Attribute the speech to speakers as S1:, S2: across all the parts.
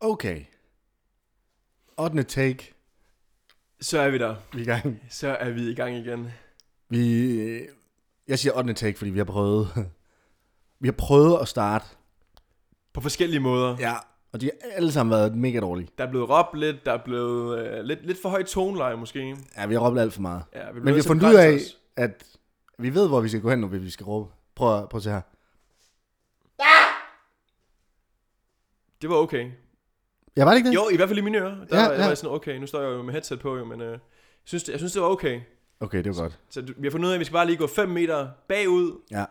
S1: Okay. 8. take.
S2: Så er vi der.
S1: Vi er i gang.
S2: Så er vi i gang igen.
S1: Vi, øh, jeg siger 8. take, fordi vi har prøvet. Vi har prøvet at starte.
S2: På forskellige måder.
S1: Ja. Og de har alle sammen været mega dårlige.
S2: Der er blevet råbt lidt, der er blevet øh, lidt, lidt for høj toneleje måske.
S1: Ja, vi har råbt alt for meget.
S2: Ja, vi
S1: Men vi har fundet ud af, at vi ved, hvor vi skal gå hen, når vi skal råbe. Prøv, at- prøv at se her.
S2: Det var okay.
S1: Ja, var det ikke det?
S2: Jo, i hvert fald i mine ører. Der
S1: Ja,
S2: ja, var,
S1: ja.
S2: ja. var jeg sådan, okay, nu står jeg jo med headset på, jo, men øh, jeg, synes, det, jeg synes, det var okay.
S1: Okay, det var godt.
S2: Så du- vi har fundet ud af, at vi skal bare lige gå 5 meter bagud,
S1: Ja.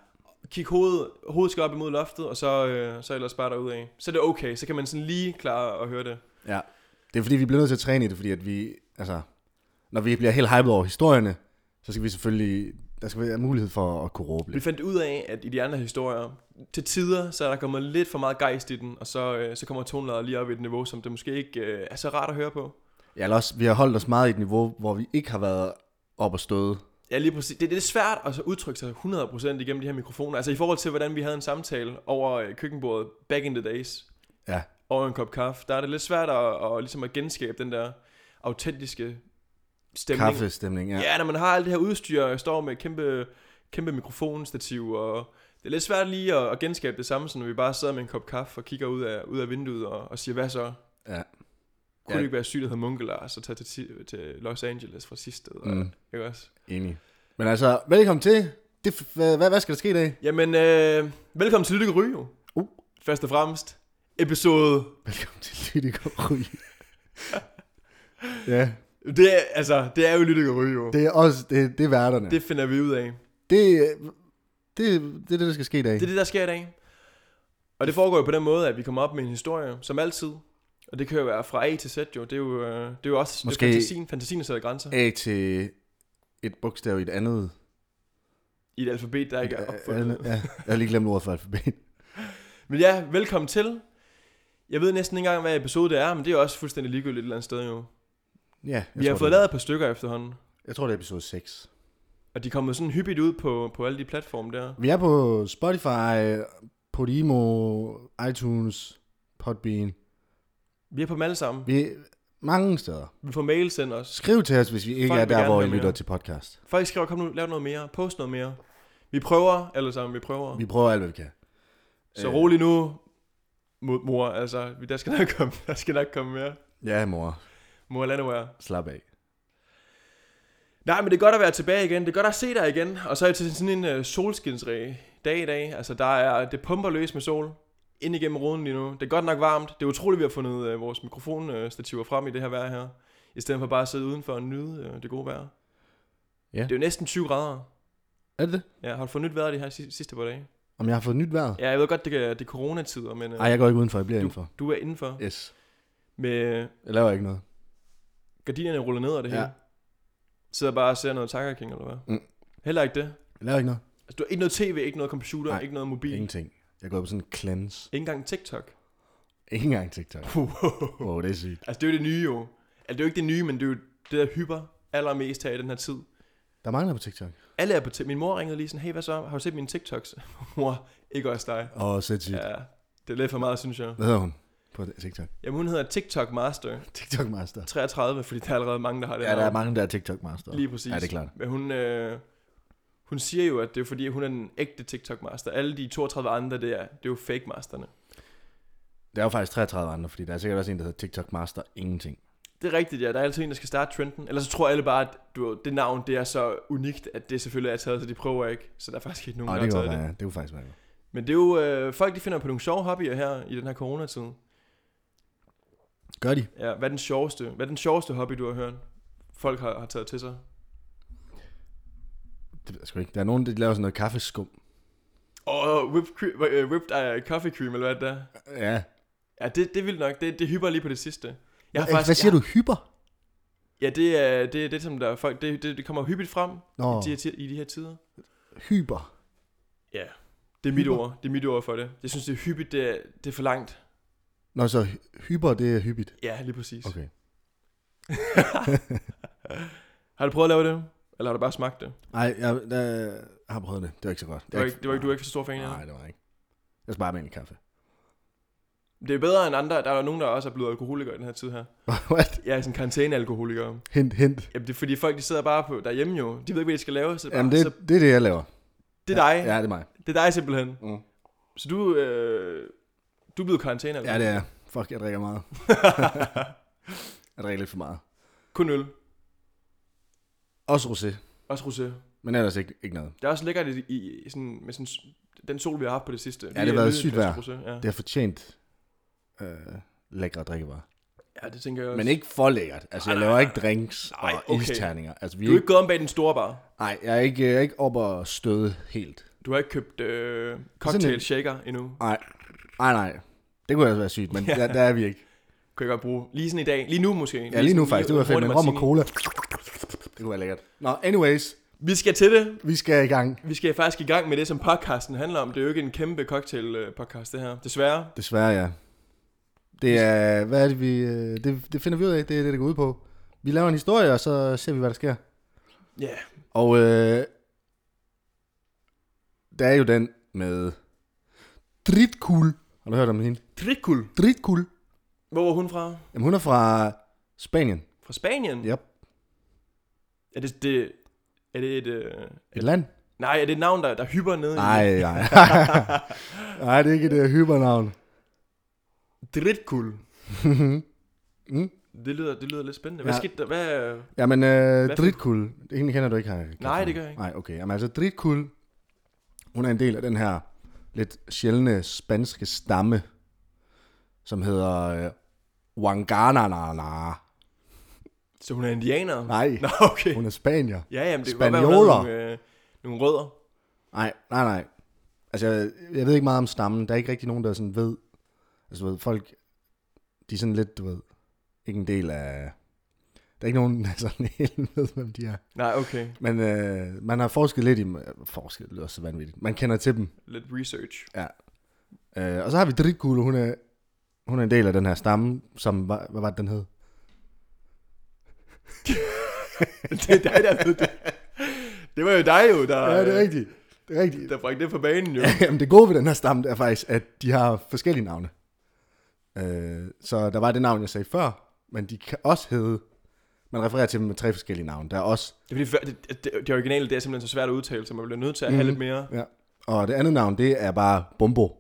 S2: kigge hovedet, hovedet skal op imod loftet, og så, øh, så ellers bare derudad. Så er det okay, så kan man sådan lige klare at høre det.
S1: Ja. Det er fordi, vi bliver nødt til at træne i det, fordi at vi, altså, når vi bliver helt hyped over historierne, så skal vi selvfølgelig, der skal være mulighed for at kunne råbe
S2: Vi
S1: lidt.
S2: fandt ud af, at i de andre historier, til tider, så er der kommet lidt for meget gejst i den, og så, øh, så kommer tonelaget lige op i et niveau, som det måske ikke øh, er så rart at høre på.
S1: Ja, eller også, vi har holdt os meget i et niveau, hvor vi ikke har været op og støde.
S2: Ja, lige præcis. Det, det er svært at så udtrykke sig 100% igennem de her mikrofoner. Altså i forhold til, hvordan vi havde en samtale over øh, køkkenbordet back in the days,
S1: Ja.
S2: over en kop kaffe, der er det lidt svært at, at, ligesom at genskabe den der autentiske stemning.
S1: Kaffestemning, ja.
S2: Ja, når man har alt det her udstyr, og står med kæmpe, kæmpe mikrofonstativ, og det er lidt svært lige at, at genskabe det samme, som når vi bare sidder med en kop kaffe og kigger ud af, ud af vinduet og, og siger, hvad så?
S1: Ja.
S2: Kunne
S1: Ja.
S2: ja. det ikke være sygt at hedde Munke Lars og tage til, ti- til Los Angeles fra sidste sted?
S1: Mm.
S2: Mm. Ikke også?
S1: Enig. Men altså, velkommen til. Det, f- hvad, hvad skal der ske i dag?
S2: Jamen, øh, velkommen til Lytte Ryge.
S1: Uh.
S2: Først og fremmest, episode...
S1: Velkommen til Lydik og Ryg. ja,
S2: Det er, altså, det er jo Lytte Ryge. Det.
S1: det er også, det, det er værterne. Det,
S2: det finder vi ud af.
S1: det, det, det er det, der skal ske i dag.
S2: Det er det, der sker i dag. Og det foregår jo på den måde, at vi kommer op med en historie, som altid. Og det kan jo være fra A til Z jo. Det er jo, øh, det er jo også
S1: Måske-
S2: Måske... det er fantasien. Fantasien der sætter grænser.
S1: A til et bogstav i et andet
S2: I et alfabet, der ikke er
S1: Alle-
S2: opfundet.
S1: Ja, jeg har lige glemt ordet for alfabet.
S2: Men ja, velkommen til. Jeg ved næsten ikke engang, hvad episode det er, men det er jo også fuldstændig ligegyldigt et eller andet sted jo.
S1: Ja,
S2: Vi har
S1: tror,
S2: fået
S1: det,
S2: lavet et par stykker efterhånden.
S1: Jeg tror, det er episode 6.
S2: Og de kommer sådan hyppigt ud på, på alle de platforme der.
S1: Vi er på Spotify, Podimo, iTunes, Podbean.
S2: Vi er på dem alle sammen.
S1: Vi er mange steder.
S2: Vi får mail sendt os.
S1: Skriv til os, hvis vi ikke
S2: Folk
S1: er
S2: vil
S1: der,
S2: gerne
S1: hvor I
S2: høre mere.
S1: lytter til podcast.
S2: Folk skriver, kom nu, lav noget mere. Post noget mere. Vi prøver alle sammen, vi prøver.
S1: Vi prøver alt, hvad vi kan.
S2: Så
S1: Øh.
S2: rolig nu, mo- mor. Altså, vi- der skal nok komme, der skal nok komme mere.
S1: Ja, mor.
S2: Mor Landauer.
S1: Slap af.
S2: Nej, men det er godt at være tilbage igen. Det er godt at se dig igen. Og så er det til sådan en øh, solskinsrig dag i dag. Altså, der er, det pumper løs med sol ind igennem ruden lige nu. Det er godt nok varmt. Det er utroligt, vi har fundet øh, vores mikrofonstativer frem i det her vejr her. I stedet for bare at sidde udenfor og nyde øh, det gode vejr.
S1: Ja.
S2: Det er jo næsten 20 grader.
S1: Er det det?
S2: Ja, har du fået nyt vejr de her si- sidste par dage?
S1: Om jeg har fået nyt vejr?
S2: Ja, jeg ved godt, det, kan, det er coronatider, men øh,
S1: Nej, jeg går ikke udenfor. Jeg bliver indenfor.
S2: du er indenfor.
S1: Yes.
S2: Med,
S1: Jeg laver ikke noget.
S2: Gardinerne ruller ned og det
S1: Ja.
S2: ja. hele. Sidder bare og ser noget Tiger King, eller hvad?
S1: Mm.
S2: Heller ikke det.
S1: Jeg laver ikke noget.
S2: Altså, du har ikke noget tv, ikke noget computer,
S1: Nej.
S2: Nej. ikke noget mobil. Ingen.
S1: Ingenting. Jeg går på sådan en cleanse.
S2: Ikke engang TikTok.
S1: Ikke engang TikTok.
S2: Wow.
S1: Åh, oh, det er sygt.
S2: Altså, det er jo det nye jo. Altså, det er jo ikke det nye, men det er jo det, der hyper allermest her i den her tid.
S1: Der er mange, der er på TikTok.
S2: Alle er på TikTok. Min mor ringede lige sådan, hey, hvad så? Har du set mine TikToks? mor, ikke også dig.
S1: Åh, oh, sindssygt.
S2: Ja, det er lidt for meget, synes jeg.
S1: Hvad hedder hun på TikTok?
S2: Jamen, hun hedder TikTok Master
S1: TikTok Master.
S2: 33, fordi der er allerede mange, der har det.
S1: Ja, der er
S2: navn.
S1: mange, der er TikTok Master.
S2: Lige præcis.
S1: Ja, det er klart.
S2: Men hun, øh, hun siger jo, at det er fordi, hun er den ægte TikTok-master. Alle de 32 andre, det er, det er jo fake-masterne.
S1: Der er jo faktisk 33 andre, fordi der er sikkert også en, der hedder TikTok Master Ingenting.
S2: Det er rigtigt, ja. Der er altid en, der skal starte trenden. Ellers så tror alle bare, at du, ved, det navn det er så unikt, at det selvfølgelig er taget, så de prøver ikke. Så der er faktisk ikke nogen,
S1: Og
S2: der
S1: det,
S2: har
S1: går,
S2: taget det.
S1: ja, det er jo faktisk meget godt.
S2: Men det er jo, øh, folk de finder på nogle sjove hobbyer her i den her coronatid.
S1: Gør de?
S2: Ja, hvad er den sjoveste, hvad er den sjoveste hobby, du har hørt? Folk har, har taget til sig.
S1: Det ved jeg sgu ikke. Der er nogen, der laver sådan noget kaffeskum.
S2: Og whipped, cream, øh, whipped uh, coffee cream, eller hvad det er.
S1: Ja.
S2: Ja, det, det er vildt nok. Det, det hyper lige på det sidste. Jeg
S1: Faktisk, Hvad siger
S2: jeg,
S1: du? Hyper?
S2: Ja, det er det, er det som der er folk, det, det, det kommer hyppigt frem
S1: Nå,
S2: oh. i, de her, ti- i de her tider.
S1: hyper.
S2: Ja, det er mit
S1: Hyper.
S2: ord. Det er mit ord for det. Jeg synes, det er hyppigt, det er, det er for langt.
S1: Nå, så hy- hyper, det er hyppigt.
S2: Ja, lige præcis. Okay.
S1: Okay.
S2: Har du prøvet at lave det? Eller har du bare smagt det?
S1: Nej, jeg, jeg, har prøvet det. Det var ikke så godt.
S2: Det var ikke, det var ikke, du er ikke så stor fan af
S1: Nej,
S2: det?
S1: det var ikke. Jeg sparer med en kaffe.
S2: Det er bedre end andre. Der er jo nogen, der også er blevet alkoholikere i den her tid her.
S1: What?
S2: Jeg er sådan karantænealkoholikere.
S1: Hint, hint.
S2: Jamen, det er fordi folk, de sidder bare på derhjemme jo. De ved ikke, hvad de skal lave. Så, det er bare,
S1: Jamen, det,
S2: så
S1: det er det, jeg laver.
S2: det er dig.
S1: Ja, det er mig.
S2: Det er dig simpelthen.
S1: Mm.
S2: Så du, øh, du er blevet karantæne, eller?
S1: Ja, det er jeg. Fuck, jeg drikker meget. jeg drikker lidt for meget.
S2: Kun øl.
S1: Også rosé,
S2: Også rosé.
S1: men ellers ikke, ikke noget.
S2: Det er også lækkert i, i, i sådan, med sådan, den sol, vi har haft på det sidste. Ja,
S1: det har været sygt vejr.
S2: Ja.
S1: Det har fortjent øh, lækre drikkevarer.
S2: ja, det tænker jeg også.
S1: Men ikke for lækkert. Altså, jeg laver ikke drinks
S2: Nej,
S1: og
S2: okay.
S1: isterninger. Altså, vi
S2: Du
S1: er
S2: er
S1: ikke,
S2: ikke gået om bag den store bar.
S1: nej, jeg er ikke, jeg er ikke op og støde helt.
S2: Du har ikke købt øh,
S1: Sådan
S2: cocktail
S1: en-
S2: shaker endnu.
S1: Nej, nej, nej. Det kunne også være sygt, men der, der, er vi ikke.
S2: Kan jeg godt bruge. Lige sådan i dag. Lige nu måske.
S1: Ja, lige nu
S2: sådan
S1: faktisk. Det var fedt
S2: hurtig
S1: med rom og
S2: martini.
S1: cola. Det kunne være lækkert. Nå, anyways.
S2: Vi skal til det.
S1: Vi skal i gang.
S2: Vi skal faktisk i gang med det, som podcasten handler om. Det er jo ikke en kæmpe cocktail-podcast, det her. Desværre.
S1: Desværre, ja. Det er, hvad er det, vi, øh, det, det finder vi ud af, det er det, det går ud på. Vi laver en historie, og så ser vi, hvad der sker.
S2: Ja. Yeah.
S1: Og øh, der er jo den med Dritkul. Har du hørt om hende?
S2: Trikul.
S1: Dritkul.
S2: Hvor var hun fra?
S1: Jamen, hun er fra Spanien.
S2: Fra Spanien?
S1: Yep.
S2: Er det, det, er det et... Øh,
S1: Et land?
S2: nej, er det et navn, der, der hyper ned i...
S1: Nej, nej. nej, det er ikke det hybernavn.
S2: Dritkul.
S1: mm.
S2: Det lyder, det lyder lidt spændende. Hvad
S1: Ja.
S2: ja. skete der? Hvad, øh,
S1: Jamen, øh,
S2: for-
S1: Dritkul. Hende kender du ikke, her.
S2: Nej, det gør jeg ikke.
S1: Nej, okay. Jamen, altså, Dritkul, hun er en del af den her lidt sjældne spanske stamme, som hedder øh, Wanganana.
S2: så hun er indianer?
S1: Nej,
S2: Nå, okay.
S1: hun er spanier.
S2: Ja, jamen, det kan godt
S1: Spanioler.
S2: være, hun havde nogle, øh, nogle rødder.
S1: Nej, nej, nej. Altså, jeg, jeg ved ikke meget om stammen. Der er ikke rigtig nogen, der sådan ved... Altså, du ved, folk... De er sådan lidt, du ved... Ikke en del af... Der er ikke nogen, der sådan helt ved, hvem de er.
S2: Nej, okay.
S1: Men øh, man har forsket lidt i dem. Øh, Forsket det lyder så vanvittigt. Man kender til dem.
S2: Lidt research.
S1: Øh, og så har vi Dritkugle. Hun er, hun er en del af den her stamme, som... Var, hvad var det, den hed?
S2: det er dig, der ved det. Det var jo dig jo, der,
S1: Ja, det er
S2: øh,
S1: rigtigt. Det er rigtigt.
S2: der bragte det på banen jo.
S1: Jamen, det gode ved den her stamme er faktisk, at de har forskellige navne. Øh, så der var det navn, jeg sagde før, men de kan også hedde... Man refererer til dem med tre forskellige navne. Der er også...
S2: Det, er fordi, før- det, det, det originale, det er simpelthen så svært at udtale, så man bliver nødt til at have
S1: Mhm.
S2: lidt mere
S1: Ja. Og det andet navn, det er bare Bombo.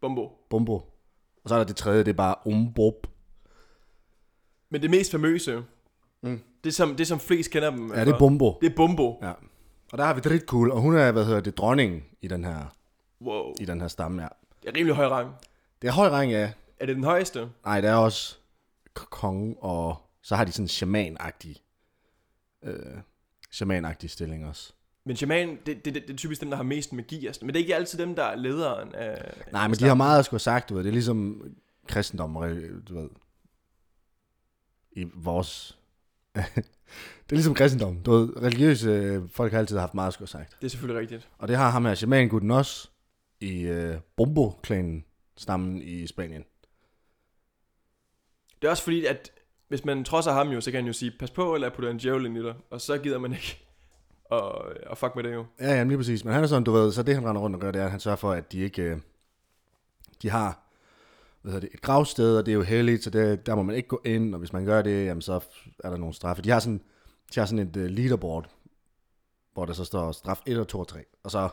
S2: bombo.
S1: Bombo. Og så er der det tredje, det er bare Umbob.
S2: Men det mest famøse,
S1: Mm.
S2: mm. det, som, det som flest kender dem
S1: Ja, det er
S2: for,
S1: Bombo.
S2: det er bombo.
S1: Ja. Og der har vi Dritkugle, og hun er, hvad hedder det, dronningen i den her,
S2: Wow.
S1: i den her stamme, ja.
S2: Det er rimelig høj rang.
S1: Det er høj rang, ja.
S2: Er det den højeste?
S1: Nej, der er også k- konge, og så har de sådan en shaman-agtig, øh, shaman-agtig stilling også.
S2: Men shaman, det, det, det, det er typisk dem, der har mest magi. og sådan- Men det er ikke altid dem, der er lederen af...
S1: Nej, men de har meget at skulle have sagt, du ved. Det er ligesom kristendom, og, øh, du ved. I vores... det er ligesom kristendom. Du ved, religiøse øh, folk har altid haft meget at skulle have sagt.
S2: Det er selvfølgelig rigtigt.
S1: Og det har ham her, shamangutten også, i øh, Bombo-klanen, stammen i Spanien.
S2: Det er også fordi, at hvis man trodser ham jo, så kan han jo sige, pas på, eller jeg putter en djævel ind i dig. Og så gider man ikke og, og fuck med det jo.
S1: Ja, jamen lige præcis. Men han er sådan, du ved, så det han render rundt og gør, det er, at han sørger for, at de ikke... øh, De har hvad hedder det, et gravsted, og det er jo helligt, så det, der må man ikke gå ind, og hvis man gør det, jamen så er der nogle straffe. De har sådan, de har sådan et øh, leaderboard, hvor der så står straf 1 og 2 og 3. Og så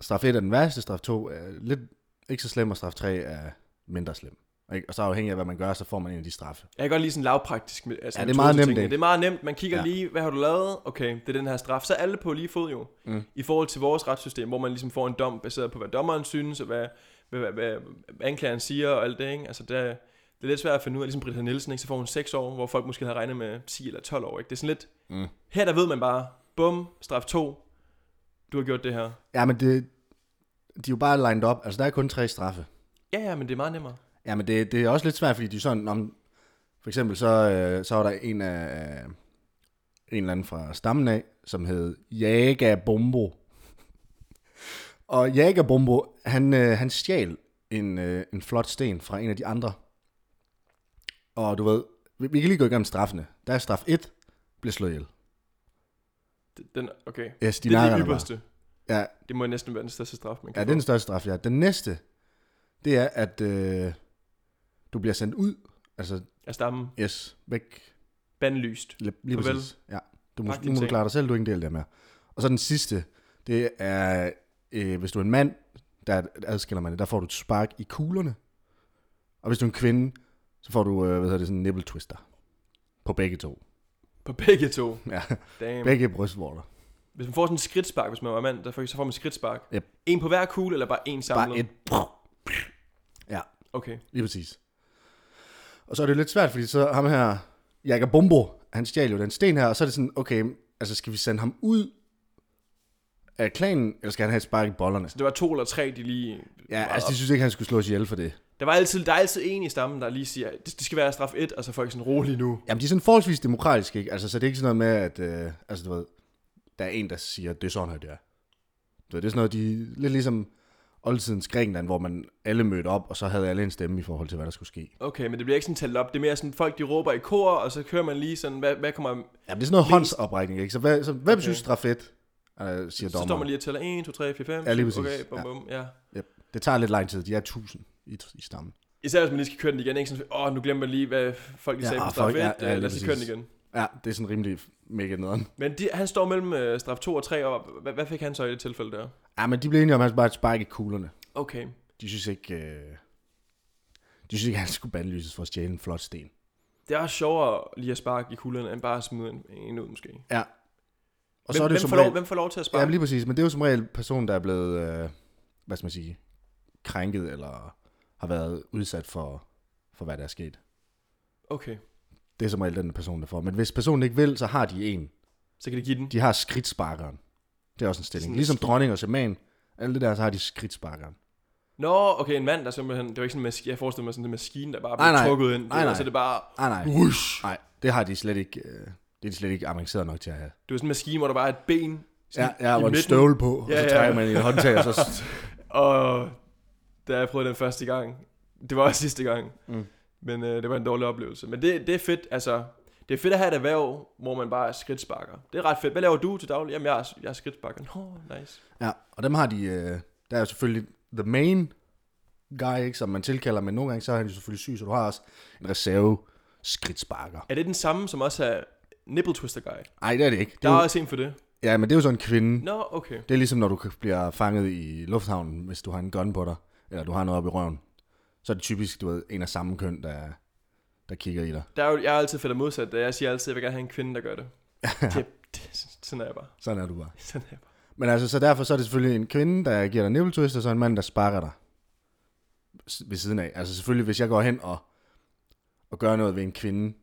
S1: straf 1 er den værste, straf 2 er lidt ikke så slem, og straf 3 er mindre slem. Og, ikke? og så afhængig af, hvad man gør, så får man en af de straffe.
S2: Jeg kan godt lide sådan lavpraktisk. med- Altså
S1: Ja, det er
S2: metode
S1: meget
S2: til
S1: nemt,
S2: tingene.
S1: ikke?
S2: Det er meget nemt. Man kigger
S1: Ja.
S2: ja. lige, hvad har du lavet? Okay, det er den her straf. Så er alle på lige fod jo.
S1: Mm.
S2: Mm. I forhold til vores retssystem, hvor man ligesom får en dom baseret på, hvad dommeren synes, og hvad, hvad, hvad, hvad anklageren siger og alt det, ikke? Altså, det er, det er lidt svært at finde ud af. Ligesom Britta Nielsen, ikke? Så får hun 6 år, hvor folk måske havde regnet med 10 eller 12 år, ikke? Det er sådan lidt...
S1: Mm.
S2: Her der ved man bare, bum, straf 2. Du har gjort det her.
S1: Ja, men det, de er jo bare lined op. Altså, der er kun tre straffe.
S2: Ja, ja, men det er meget nemmere.
S1: Ja, men det, det er også lidt svært, fordi de er sådan, om, for eksempel så, øh, så var der en af, øh, en eller anden fra stammen af, som hed Jaga Bombo. Og Jaga Bombo, han, øh, han stjal en, øh, en flot sten fra en af de andre. Og du ved, vi, vi kan lige gå igennem straffene. Der er straf 1, bliver slået ihjel.
S2: Det- Den, okay.
S1: Yes, de
S2: det er
S1: nakker
S2: det
S1: dig bare.
S2: ypperste.
S1: Ja,
S2: Det må næsten være den største straf, man kan
S1: ja, det
S2: få.
S1: er den største straf, ja. Den næste, det er, at øh, du bliver sendt ud. Altså,
S2: af stammen.
S1: yes, væk.
S2: Bandlyst.
S1: Lige, lige
S2: Farvel.
S1: præcis. Ja. Du må,
S2: Pak din
S1: nu må du
S2: ting.
S1: klare dig selv, du er ikke en del af det her. Og så den sidste, det er, øh, hvis du er en mand, der adskiller man det, der får du et spark i kuglerne. Og hvis du er en kvinde, så får du, øh, hvad hedder det, sådan en nipple twister. På begge to.
S2: På begge to.
S1: Ja,
S2: Damn.
S1: begge brystvorter.
S2: Hvis man får sådan en skridtspark, hvis man var mand, der får- så får man et skridtspark.
S1: Yep.
S2: En på hver kugle, eller bare en samlet?
S1: Bare et...
S2: Okay.
S1: Lige præcis. Og så er det jo lidt svært, fordi så ham her, Jakob Bombo, han stjal jo den sten her, og så er det sådan, okay, altså skal vi sende ham ud af klanen, eller skal han have et spark i bollerne?
S2: Så det var to eller tre, de lige...
S1: Ja, altså de synes ikke, han skulle slås ihjel for det.
S2: Der, var altid, der er altid en i stammen, der lige siger, det, det skal være straf 1, og så får jeg sådan rolig nu.
S1: Jamen, de er sådan forholdsvis demokratiske, ikke? Altså, så det er ikke sådan noget med, at øh, altså, du ved, der er en, der siger, det er sådan her, det er. Du ved, det er sådan noget, de lidt ligesom oldtidens Grækenland, hvor man alle mødte op, og så havde alle en stemme i forhold til, hvad der skulle ske.
S2: Okay, men det bliver ikke sådan talt op. Det er mere sådan, folk de råber i kor, og så kører man lige sådan, hvad, hvad kommer...
S1: Jamen, det er sådan noget håndsoprækning, ikke? Så hvad, så, hvad okay. synes du er fedt, øh, siger
S2: Så står man
S1: dommeren.
S2: lige og tæller 1, 2, 3, 4, 5.
S1: Ja, lige præcis.
S2: Okay, bum,
S1: Ja.
S2: bum, ja.
S1: Det tager lidt lang tid, de er tusind i, i stammen.
S2: Især hvis man lige skal køre den igen, ikke? Sådan, åh, nu glemmer man lige, hvad folk de
S1: Ja,
S2: sagde på
S1: ah,
S2: straf
S1: fuck,
S2: 1.
S1: ja,
S2: Ja,
S1: ja, lige
S2: Lad os lige køre den
S1: præcis.
S2: igen.
S1: Ja, det er sådan rimelig mega nederen.
S2: Men de, han står mellem øh, straf 2 og 3, og hvad, hvad fik han så i det tilfælde der?
S1: Ja, men de blev enige om, at han skulle bare sparke i kuglerne.
S2: Okay.
S1: De synes ikke, øh, de synes ikke, han skulle bandlyses for at stjæle en flot sten.
S2: Det er også sjovere lige at sparke i kuglerne, end bare at smide en, en ud måske.
S1: Ja. Og
S2: hvem, hvem,
S1: som
S2: får lov,
S1: regel-
S2: hvem får lov til at
S1: Ja,
S2: sparke?
S1: men lige præcis. Men det er jo som regel personen, der er blevet, øh, hvad skal man sige, krænket eller har været udsat for, for hvad der er sket.
S2: Okay,
S1: Det er som regel den person, der får. Men hvis personen ikke vil, så har de en.
S2: så kan de give den.
S1: De har skridtsparkeren. Det er også en
S2: Sådan
S1: stilling.
S2: en
S1: Ligesom
S2: skid-
S1: dronning og shaman. Alt det der, så har de skridtsparkeren.
S2: Nå, okay, en mand, der simpelthen... Det var ikke sådan en maskine... Jeg forestiller mig sådan en maskine, der bare
S1: Nej,
S2: bliver
S1: nej.
S2: trukket ind.
S1: Nej, nej.
S2: Så det er bare...
S1: Ah, Nej, nej.
S2: Whoosh.
S1: Nej, det har de slet ikke, øh, det er de slet ikke avanceret nok til at have.
S2: Det var sådan en maskine, hvor der bare er et ben
S1: Ja,
S2: sådan
S1: ja
S2: i
S1: og en
S2: midten.
S1: støvle på,
S2: Ja,
S1: og så
S2: ja.
S1: trækker man i et håndtag, og så
S2: Og da jeg prøvede den første gang, det var også sidste gang,
S1: Mm.
S2: mm. men øh, det var en dårlig oplevelse. Men det, det er fedt, altså, det er fedt at have et erhverv, hvor man bare er skridtsparker. Det er ret fedt. Hvad laver du til daglig? Jamen, jeg er, jeg er skridtsparker. Nå, nice.
S1: Ja, og dem har de, øh, der er jo selvfølgelig the main guy, ikke, som man tilkalder, men nogle gange så er han jo selvfølgelig syg, så du har også en reserve skridtsparker.
S2: Er det den samme, som også er nipple twister guy?
S1: Nej, det er det ikke. Det
S2: Der
S1: er
S2: er
S1: jo,
S2: også en for det.
S1: ja, men det er jo sådan en kvinde.
S2: Nå, okay.
S1: Det er ligesom, når du bliver fanget i lufthavnen, hvis du har en gun på dig, eller du har noget op i røven. Så er det typisk, du ved, en af samme køn, der, der kigger i dig.
S2: Der er jo, jeg er altid fedt og modsat. Jeg siger altid, at jeg vil gerne have en kvinde, der gør det. det, det sådan er jeg bare.
S1: Sådan er du bare.
S2: Sådan er jeg bare.
S1: Men altså, så derfor så er det selvfølgelig en kvinde, der giver dig nipple twist, og så en mand, der sparker dig s- ved siden af. Altså selvfølgelig, hvis jeg går hen og, og gør noget ved en kvinde,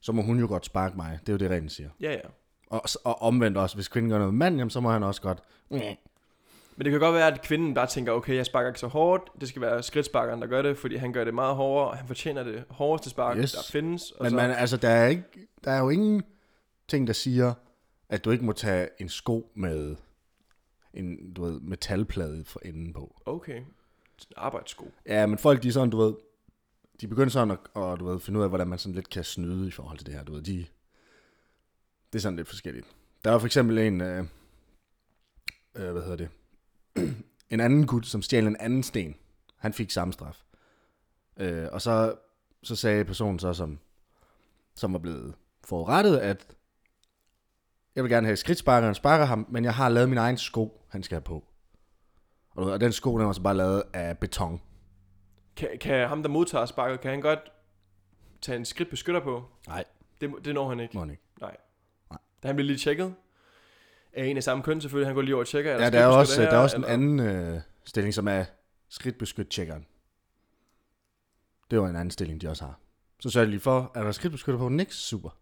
S1: så må hun jo godt sparke mig. Det er jo det, reglen siger.
S2: Ja, ja.
S1: Og, s- og omvendt også, hvis kvinden gør noget ved manden, jamen, så må han også godt.
S2: Men det kan godt være, at kvinden bare tænker, okay, jeg sparker ikke så hårdt, det skal være skridtsparkeren, der gør det, fordi han gør det meget hårdere, og han fortjener det hårdeste spark,
S1: Yes.
S2: yes. der findes. Og
S1: Men
S2: så,
S1: man, altså, der er, ikke, der er jo ingen ting, der siger, at du ikke må tage en sko med en du ved, metalplade for enden på.
S2: okay, arbejdssko.
S1: Ja, men folk, de er sådan, du ved, de begynder sådan at, og, du ved, finde ud af, hvordan man sådan lidt kan snyde i forhold til det her, du ved, de, det er sådan lidt forskelligt. Der var for eksempel en, øh, øh, hvad hedder det, en anden gut, som stjal en anden sten. Han fik samme straf. Øh, og så, så sagde personen så, som, som var blevet forurettet, at jeg vil gerne have skridtsparker, han sparker ham, men jeg har lavet min egen sko, han skal have på. Og, du ved, og den sko, den var så bare lavet af beton.
S2: Kan, kan ham, der modtager sparket, kan han godt tage en skridt beskytter på?
S1: Nej.
S2: Det, må- det når han ikke.
S1: Må han ikke.
S2: Da han bliver lige tjekket af en af samme køn selvfølgelig, han går lige over og tjekker. er
S1: Ja, der er
S2: skridtbeskytter
S1: også,
S2: her,
S1: der er også en
S2: eller-
S1: anden øh, stilling, som er skridtbeskyt-tjekkeren. Det var en anden stilling, de også har. Så sørger de lige for, er der skridtbeskytter på? Nix, super. Det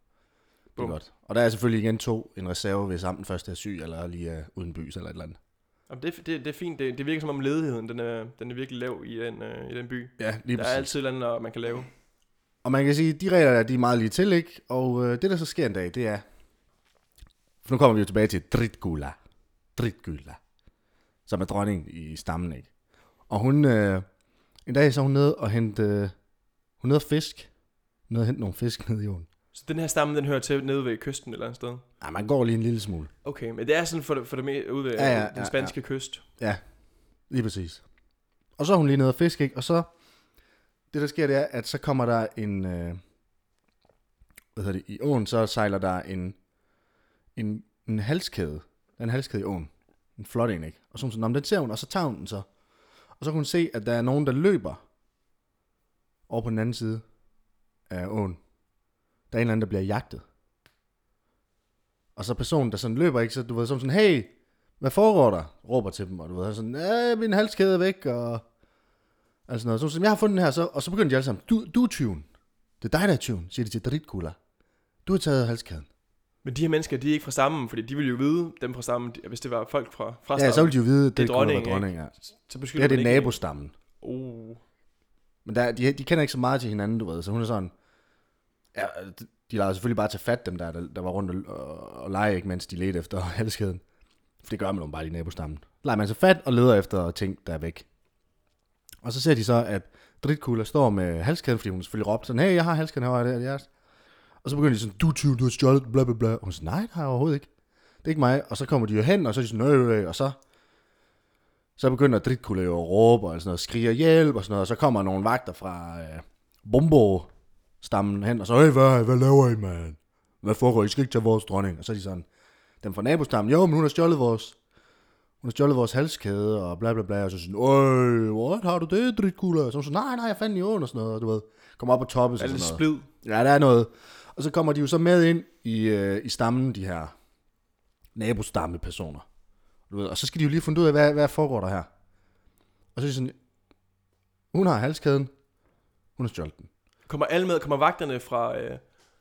S1: er
S2: Bum.
S1: godt. Og der er selvfølgelig igen to, en reserve, hvis sammen først er syg, eller lige er uden bys, eller et eller andet.
S2: Jamen, det, det, det er fint, det, det virker som om ledigheden, den er, den er virkelig lav i den, øh, i den by.
S1: Ja, lige
S2: Der
S1: præcis.
S2: er altid et eller andet, øh, man kan lave.
S1: Og man kan sige, at de regler der, de er meget lige til, ikke? Og øh, det, der så sker en dag, det er... For nu kommer vi jo tilbage til Dritgula. Dritgula. Som er dronningen i stammen, ikke? Og hun... Øh, en dag så er hun nede og hente... Øh, hun er nede og fisk. Hun er nede og hente nogle fisk nede i åen.
S2: Så den her stamme, den hører til nede ved kysten et eller andet sted.
S1: Ej, Ah, man går lige en lille smule.
S2: Okay, men det er sådan for det, for det mere ude ved øh,
S1: Ja,
S2: ja,
S1: ja,
S2: ja,
S1: ja,
S2: den spanske ja, ja. kyst.
S1: Lige præcis. Og så er hun lige nede og fiske, ikke? Og så, det der sker, det er, at så kommer der en, øh, hvad hedder det, i åen, så sejler der en, en, en halskæde. Der er en halskæde i åen. En flot en, ikke? Og så er hun sådan, "Nå, men den ser hun, og så tager hun den så. Og så kan hun se, at der er nogen, der løber over på den anden side af åen. Der er en eller anden, der bliver jagtet. Og så personen, der sådan løber, ikke? Så du ved, som sådan, hey, hvad foregår der? Råber til dem, og du ved, sådan, øh, min halskæde er væk, og... Altså noget. Så hun siger, jeg har fundet den her, så, og så begynder de alle sammen, du, du er tyven. Det er dig, der er tyven, siger de til Dritkula. Du har taget halskæden.
S2: Men de her mennesker, de er ikke fra stammen, fordi de ville jo vide, dem fra stammen, de- hvis det var folk fra, fra
S1: Ja,
S2: stammen,
S1: så ville de jo vide, at
S2: Det er
S1: det, det var
S2: dronningen,
S1: dronning, ja.
S2: så
S1: Det
S2: beskylder
S1: her det er
S2: man ikke-
S1: nabostammen.
S2: Oh.
S1: Men der, de, de kender ikke så meget til hinanden, du ved, så hun er sådan... Ja, de- de lader selvfølgelig bare tage fat dem der, der, der var rundt og, og, og lege, ikke, mens de ledte efter halskæden. For det gør man jo bare i nabostammen. Leger man så fat og leder efter ting, der er væk. Og så ser de så, at Dritkula står med halskæden, fordi hun selvfølgelig råbte sådan, hey, jeg har halskæden her, er det er jeres? Og så begynder de sådan, du er tyv, du har stjålet, bla bla bla. Og hun siger, nej, det har jeg overhovedet ikke. Det er ikke mig. Og så kommer de jo hen, og så er de sådan, øh, øh, øh, og så så begynder Dritkula jo at råbe og sådan noget, skriger hjælp og sådan noget, og så kommer nogle vagter fra øh, Bombo-stammen hen, og så, hey, hvad, hvad laver I, mand? Hvad foregår I? I skal ikke tage vores dronning. Og så er de sådan, dem fra nabostammen, jo, men hun har stjålet vores, hun har stjålet vores halskæde, og bla bla bla, og så sådan, øj, what, har du det, Dritkula? Og så er hun sådan, nej, nej, jeg fandt den i åen, og sådan noget, og du ved, kommer op på toppen.
S2: Er
S1: sådan
S2: det
S1: noget.
S2: splid?
S1: Ja, der er noget. Og så kommer de jo så med ind i, øh, i stammen, de her nabostammepersoner. Du ved, og så skal de jo lige finde ud af, hvad, hvad foregår der her. Og så er de sådan, hun har halskæden, hun har stjålet den.
S2: Kommer alle med? Kommer vagterne fra... Øh,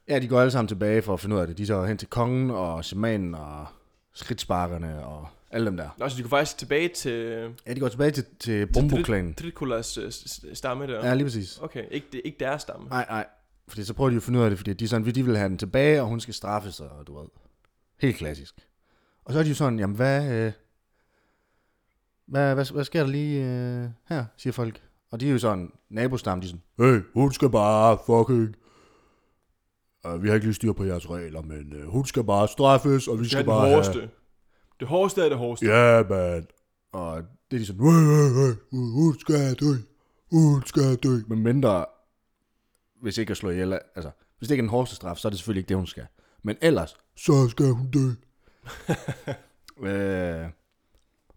S1: Ja, de går alle sammen tilbage for at finde ud af det. De tager hen til kongen og shamanen og skridtsparkerne og alle dem der.
S2: altså, de går faktisk tilbage til...
S1: Ja, de går tilbage til, til
S2: til
S1: Bombo-klanen.
S2: Drit- Dritkulas øh, s- s- stamme der.
S1: Mm. Ja, lige præcis.
S2: Okay, ikke, det, ikke deres stamme.
S1: Nej, nej. Fordi så prøver de jo at finde ud af det, fordi de, er sådan, vi- de vil have den tilbage, og hun skal straffe sig, og du ved. Helt klassisk. Og så er de jo sådan, jamen hvad, øh, hvad, hvad, hvad sker der lige øh, her, siger folk. Og de er jo sådan, nabostammen, de er sådan, hey, hun skal bare fucking, uh, vi har ikke lige styr på jeres regler, men uh, hun skal bare straffes, og vi
S2: Det er
S1: skal
S2: den
S1: bare
S2: hårdeste. Det hårdeste er det hårdeste.
S1: Ja, yeah, man. Og det er de sådan, hey, hey, hey, hun- hun skal dø, hun skal dø. Men mindre, hvis ikke at slå ihjel, er- altså, hvis det ikke er den hårdeste straf, så er det selvfølgelig ikke det, hun skal. Men ellers, så skal hun dø. øh,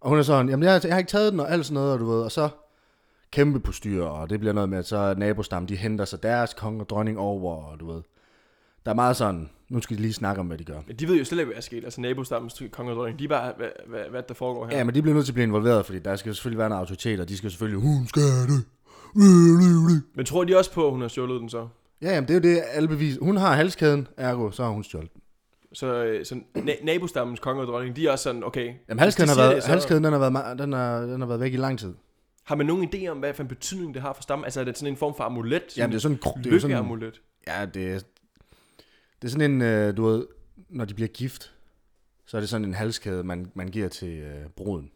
S1: og hun er sådan, jamen jeg, jeg har ikke taget den, og alt sådan noget, og du ved, og så kæmpe på styr, og det bliver noget med, at så nabostammen, de henter sig deres konge og dronning over, og du ved. Der er meget sådan, nu skal de lige snakke om, hvad de gør.
S2: Men de ved jo slet ikke, hvad der er sket. Altså nabostammens konge og dronning, de er bare, hvad, hvad, hvad der foregår her.
S1: Ja, men de bliver nødt til at blive involveret, fordi der skal jo selvfølgelig være en autoritet, og de skal selvfølgelig, hun skal dø.
S2: Men tror de også på, at hun har stjålet den så?
S1: Ja, jamen det er jo det, alle bevis. Hun har halskæden, ergo, så har hun stjålet den.
S2: Så, øh, så na- nabostammens konge og dronning, de er også sådan, okay.
S1: Jamen
S2: hvis de
S1: halskæden, har
S2: siger
S1: været,
S2: det, så-
S1: halskæden den har, været, ma- den, har, den har været væk i lang tid.
S2: Har man nogen idé om, hvad for en betydning det har for stammen? Altså er det sådan en form for amulet? Sådan
S1: Jamen det er sådan, en kro-
S2: en
S1: det er jo sådan,
S2: lykkeamulet?
S1: ja, det er, det er sådan en, øh, du ved, når de bliver gift, så er det sådan en halskæde, man, man giver til øh, bruden.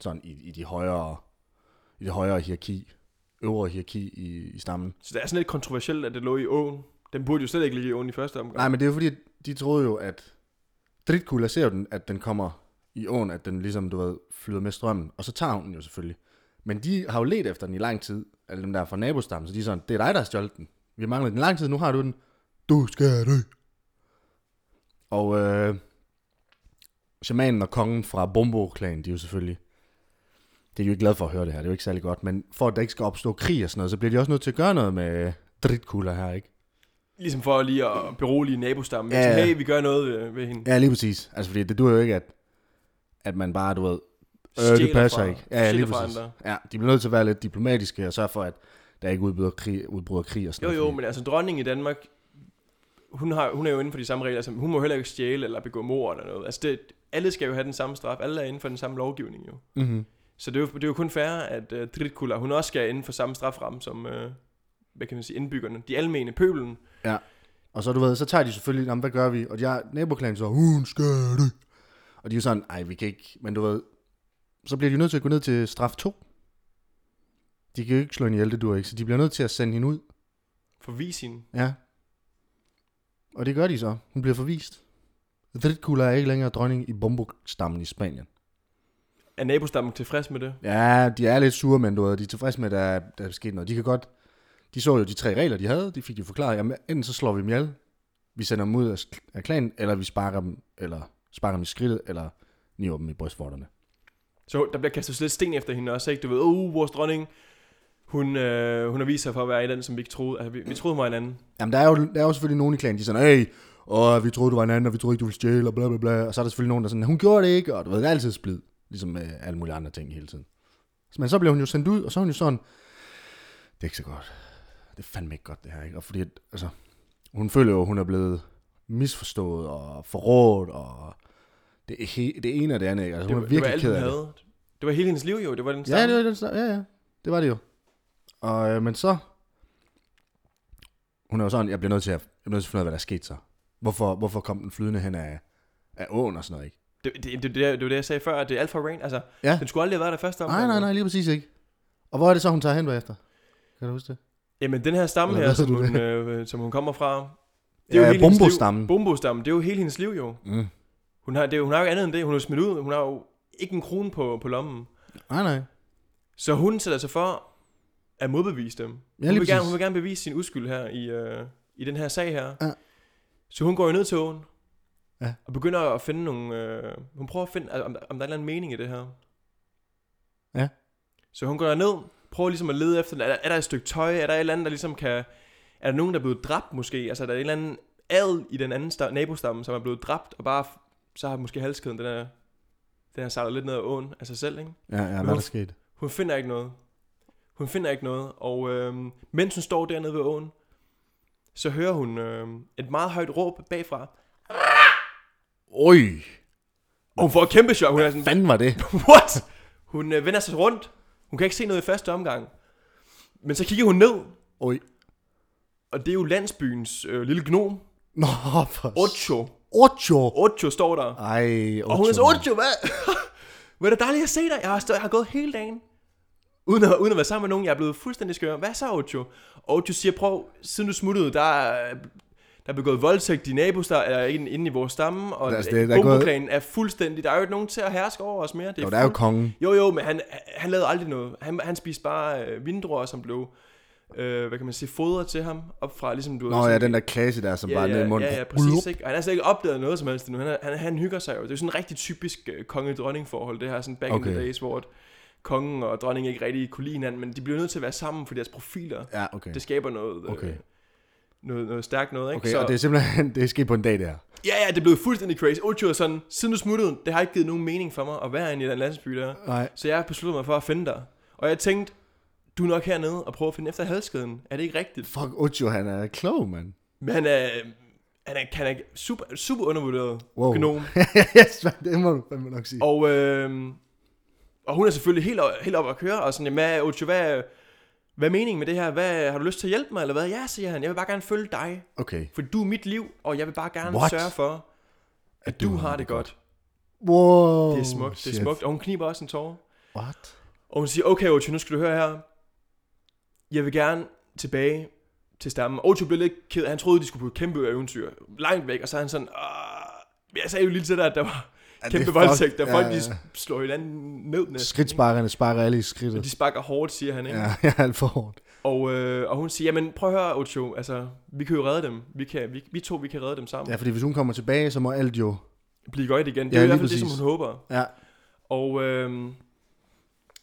S1: Sådan i, i, de højere, i det højere hierarki, øvre hierarki i, i stammen.
S2: Så det er sådan lidt kontroversielt, at det lå i åen. Den burde jo slet ikke ligge i åen i første omgang.
S1: Nej, men det er jo fordi, at de troede jo, at dritkula ser jo den, at den kommer i åen, at den ligesom, du ved, flyder med strømmen, og så tager hun den jo selvfølgelig. Men de har jo let efter den i lang tid, alle dem der er fra nabostammen, så de er sådan, det er dig, der har stjålet den. Vi mangler den i lang tid, nu har du den. Du skal dø. Og øh, shamanen og kongen fra Bombo-klanen, de er jo selvfølgelig, det er de jo ikke glade for at høre det her, det er jo ikke særlig godt, men for at der ikke skal opstå krig og sådan noget, så bliver de også nødt til at gøre noget med dritkula her, ikke?
S2: Ligesom for lige at berolige nabostammen.
S1: Ja,
S2: Ja,
S1: ja.
S2: Hey, vi gør noget øh, ved, ved hende.
S1: Ja, lige præcis. Altså, fordi det duer jo ikke, at, at man bare, du ved... Øh, det
S2: Stjæler
S1: passer
S2: fra-
S1: ikke. Ja, ja,
S2: stjæler
S1: lige
S2: fra
S1: præcis.
S2: andre.
S1: Ja, de bliver nødt til at være lidt diplomatiske og sørge for, at der ikke udbryder krig, udbryder krig og sådan
S2: Jo,
S1: noget.
S2: jo, men altså dronningen i Danmark, hun, har, hun er jo inden for de samme regler, så hun må heller ikke stjæle eller begå mord eller noget. Altså det, alle skal jo have den samme straf, alle er inden for den samme lovgivning jo.
S1: Mm-hmm.
S2: Så det er jo, det er jo kun fair, at uh, Dritkula, hun også skal inden for samme straframme som, uh, hvad kan man sige, indbyggerne, de almene, pøbelen.
S1: Og så, du ved, så tager de selvfølgelig, "Nå, men hvad gør vi? Og de har naboklanen så, hun skal det. Og de er jo sådan, nej, vi kan ikke, men du ved, så bliver de nødt til at gå ned til straf 2. De kan jo ikke slå en ihjel, det duer ikke, så de bliver nødt til at sende hende ud.
S2: Forvis hende.
S1: Ja. Og det gør de så. Hun bliver forvist. Dritkula er ikke længere dronning i Bombo-stammen i Spanien.
S2: Er nabostammen tilfreds med det?
S1: Ja, de er lidt sure, men du ved, de er tilfredse med, at der, der er sket noget. De kan godt... De så jo de tre regler, de havde. De fik jo forklaret, jamen enten så slår vi dem ihjel, vi sender dem ud af sk- af klanen, eller vi sparker dem, eller sparker dem i skridtet, eller niver dem i brystvorterne.
S2: Så der bliver kastet lidt sten efter hende også, ikke? Du ved, uh, vores dronning, hun, øh, hun har vist sig for at være i den, som vi ikke troede. Altså, vi, vi troede, hun var en anden.
S1: Jamen, der er jo, der er jo selvfølgelig nogen i klanen, de er sådan, hey, og vi troede, du var en anden, og vi troede ikke, du ville stjæle, og bla bla bla. Og så er der selvfølgelig nogen, der er sådan, hun gjorde det ikke, og du ved, det er altid splid. Ligesom med alle mulige andre ting hele tiden. Så- Men så blev hun jo sendt ud, og så er hun jo sådan, det er ikke så godt. Det er fandme ikke godt, det her, ikke? Og fordi, at, altså, hun føler jo, hun er blevet misforstået og forrådt, og det, he, det ene og det andet, ikke? Altså, hun
S2: det,
S1: er
S2: var-
S1: virkelig
S2: det
S1: ked
S2: var alt, hun
S1: af det.
S2: havde. Det var hele hendes liv jo, det var den
S1: Ja,
S2: samme.
S1: det var den samme. Ja, ja. Det var det jo. Og, øh, men så... Hun er jo sådan, jeg bliver nødt til at, jeg bliver nødt til at finde ud af, hvad der skete så. Hvorfor, hvorfor kom den flydende hen af, af åen og sådan noget, ikke?
S2: Det, det, det, det, det, var det, jeg sagde før, at det er alfa rain. Altså,
S1: Ja.
S2: den skulle aldrig have været der første omgang.
S1: Nej, nej, nej, lige præcis ikke. Og hvor er det så, hun tager hen bagefter? Kan du huske det?
S2: øh, Jamen, den her stamme
S1: Eller
S2: her,
S1: hvad
S2: som
S1: hedder
S2: hun, øh, som hun kommer fra, det er
S1: Ja,
S2: jo hele hendes liv.
S1: Bombo-stammen.
S2: Bombo-stammen, det er jo hele hendes liv jo.
S1: Mm.
S2: Hun har, det, er jo- hun har jo ikke andet end det. Hun er jo smidt ud. Hun har jo ikke en krone på, på lommen.
S1: Nej, nej.
S2: Så hun sætter sig for at modbevise dem. Ja, hun,
S1: lige
S2: vil gerne,
S1: præcis.
S2: hun vil gerne bevise sin uskyld her i, øh, i den her sag her.
S1: Ja.
S2: Så hun går jo ned til åen.
S1: Ja.
S2: Og begynder at finde nogle... Øh, hun prøver at finde, al- om, der- om der er en eller anden mening i det her.
S1: Ja.
S2: Så hun går ned, prøver ligesom at lede efter, er der, er der et stykke tøj, er der et eller andet, der ligesom kan... Er der nogen, der er blevet dræbt måske? Altså er der en eller anden adel i den anden sta- nabostamme, som er blevet dræbt, og bare f- så har måske halskæden, den er, den er sejlet lidt ned ad åen af sig selv, ikke?
S1: Ja, ja, hvad
S2: hun-
S1: der skete?
S2: Hun finder ikke noget. Hun finder ikke noget, og øhm, mens hun står dernede ved åen, så hører hun øhm, et meget højt råb bagfra.
S1: Oj,
S2: Og hun får et kæmpe chok. Hun er sådan,
S1: fanden var det?
S2: what? Hun øh, vender sig rundt. Hun kan ikke se noget i første omgang. Men så kigger hun ned,
S1: Oj.
S2: og det er jo landsbyens øh, lille gnom.
S1: Nå, for...
S2: Ocho.
S1: Ocho.
S2: Ocho står der.
S1: Ej, Ocho.
S2: Og hun er så, Ocho, hvad? Hvor er det dejligt at se dig. Jeg har, stået, jeg har gået hele dagen. Uden at, uden at være sammen med nogen, jeg er blevet fuldstændig skør. Hvad så, Ocho? Og Ocho siger, prøv, siden du smuttede, der er, der er begået voldtægt i nabos, der er inde, inde i vores stamme, og
S1: Der er
S2: altså,
S1: slet- der er gået-
S2: bombeklanen er fuldstændig, der er jo ikke nogen til at herske over os mere. Det er
S1: Jo, der er jo
S2: fuld-
S1: kongen.
S2: jo, jo, men han, han lavede aldrig noget. Han, han spiste bare øh, vindruer, som blev, øh, hvad kan man sige, fodret til ham op fra, ligesom du ved,
S1: Nå
S2: sådan-
S1: ja, den der klasse der, som bare er ned i munden.
S2: Ja, ja, præcis. Ikke? Og han har slet ikke opdaget noget som helst nu. Han, er- han, han hygger sig jo. Det er jo sådan et rigtig typisk øh, konge-dronning-forhold, det her sådan back okay. in
S1: Okay.
S2: the days, hvor at kongen og dronningen ikke rigtig kunne lide hinanden, men de bliver nødt til at være sammen for deres profiler.
S1: Ja, okay.
S2: Det skaber noget, øh,
S1: Okay.
S2: noget, noget stærkt noget, ikke?
S1: Okay, og det er simpelthen, det er sket på en dag, det her.
S2: Ja, ja, det blev fuldstændig crazy. Ocho er sådan, siden du smuttede, det har ikke givet nogen mening for mig at være inde i den landsby der.
S1: Nej.
S2: Så jeg besluttede mig for at finde dig. Og jeg tænkte, du er nok hernede og prøver at finde efter halskeden. Er det ikke rigtigt?
S1: Fuck, Ocho, han er klog, mand.
S2: Men han er, øh, han er, han er super, super undervurderet
S1: Wow.
S2: gnom.
S1: yes, man, det må du fandme nok sige.
S2: Og, øh, og hun er selvfølgelig helt, op- helt op at køre, og sådan, jamen, hvad, Ocho, hvad, hvad er meningen med det her? Hvad, har du lyst til at hjælpe mig, eller hvad? Ja, siger han, jeg vil bare gerne følge dig,
S1: Okay.
S2: for du er mit liv, og jeg vil bare gerne
S1: What?
S2: sørge for, at, du har det godt.
S1: Wow.
S2: Det er smukt, det er
S1: shit.
S2: smukt. Og hun kniber også en tårer.
S1: What?
S2: Og hun siger, okay Ocho, nu skal du høre her. Jeg vil gerne tilbage til stammen. Ocho blev lidt ked. Han troede, de skulle på et kæmpe eventyr. Langt væk. Og så er han sådan, "Åh, jeg sagde jo lige til dig, at der var
S1: Ja, det
S2: kæmpe
S1: er
S2: voldtægt.
S1: fucked.
S2: Der folk,
S1: Ja,
S2: de
S1: ja.
S2: s- slår hinanden ned næsten.
S1: Skridtsparkerne sparker alle i
S2: ikke?
S1: skridtet.
S2: Og de sparker hårdt, siger han. Ikke?
S1: Ja,
S2: Ja.
S1: jeg er alt for hårdt.
S2: Og, øh, og hun siger, jamen prøv at høre Ocho, altså, vi kan jo redde dem. Vi, kan, vi, vi to, vi kan redde dem sammen.
S1: Ja,
S2: Ja.
S1: fordi hvis hun kommer tilbage, så må alt jo...
S2: Blive godt igen. Det
S1: Ja,
S2: er i
S1: lige
S2: hvert fald det, som
S1: præcis.
S2: hun håber.
S1: Ja.
S2: Og øhm,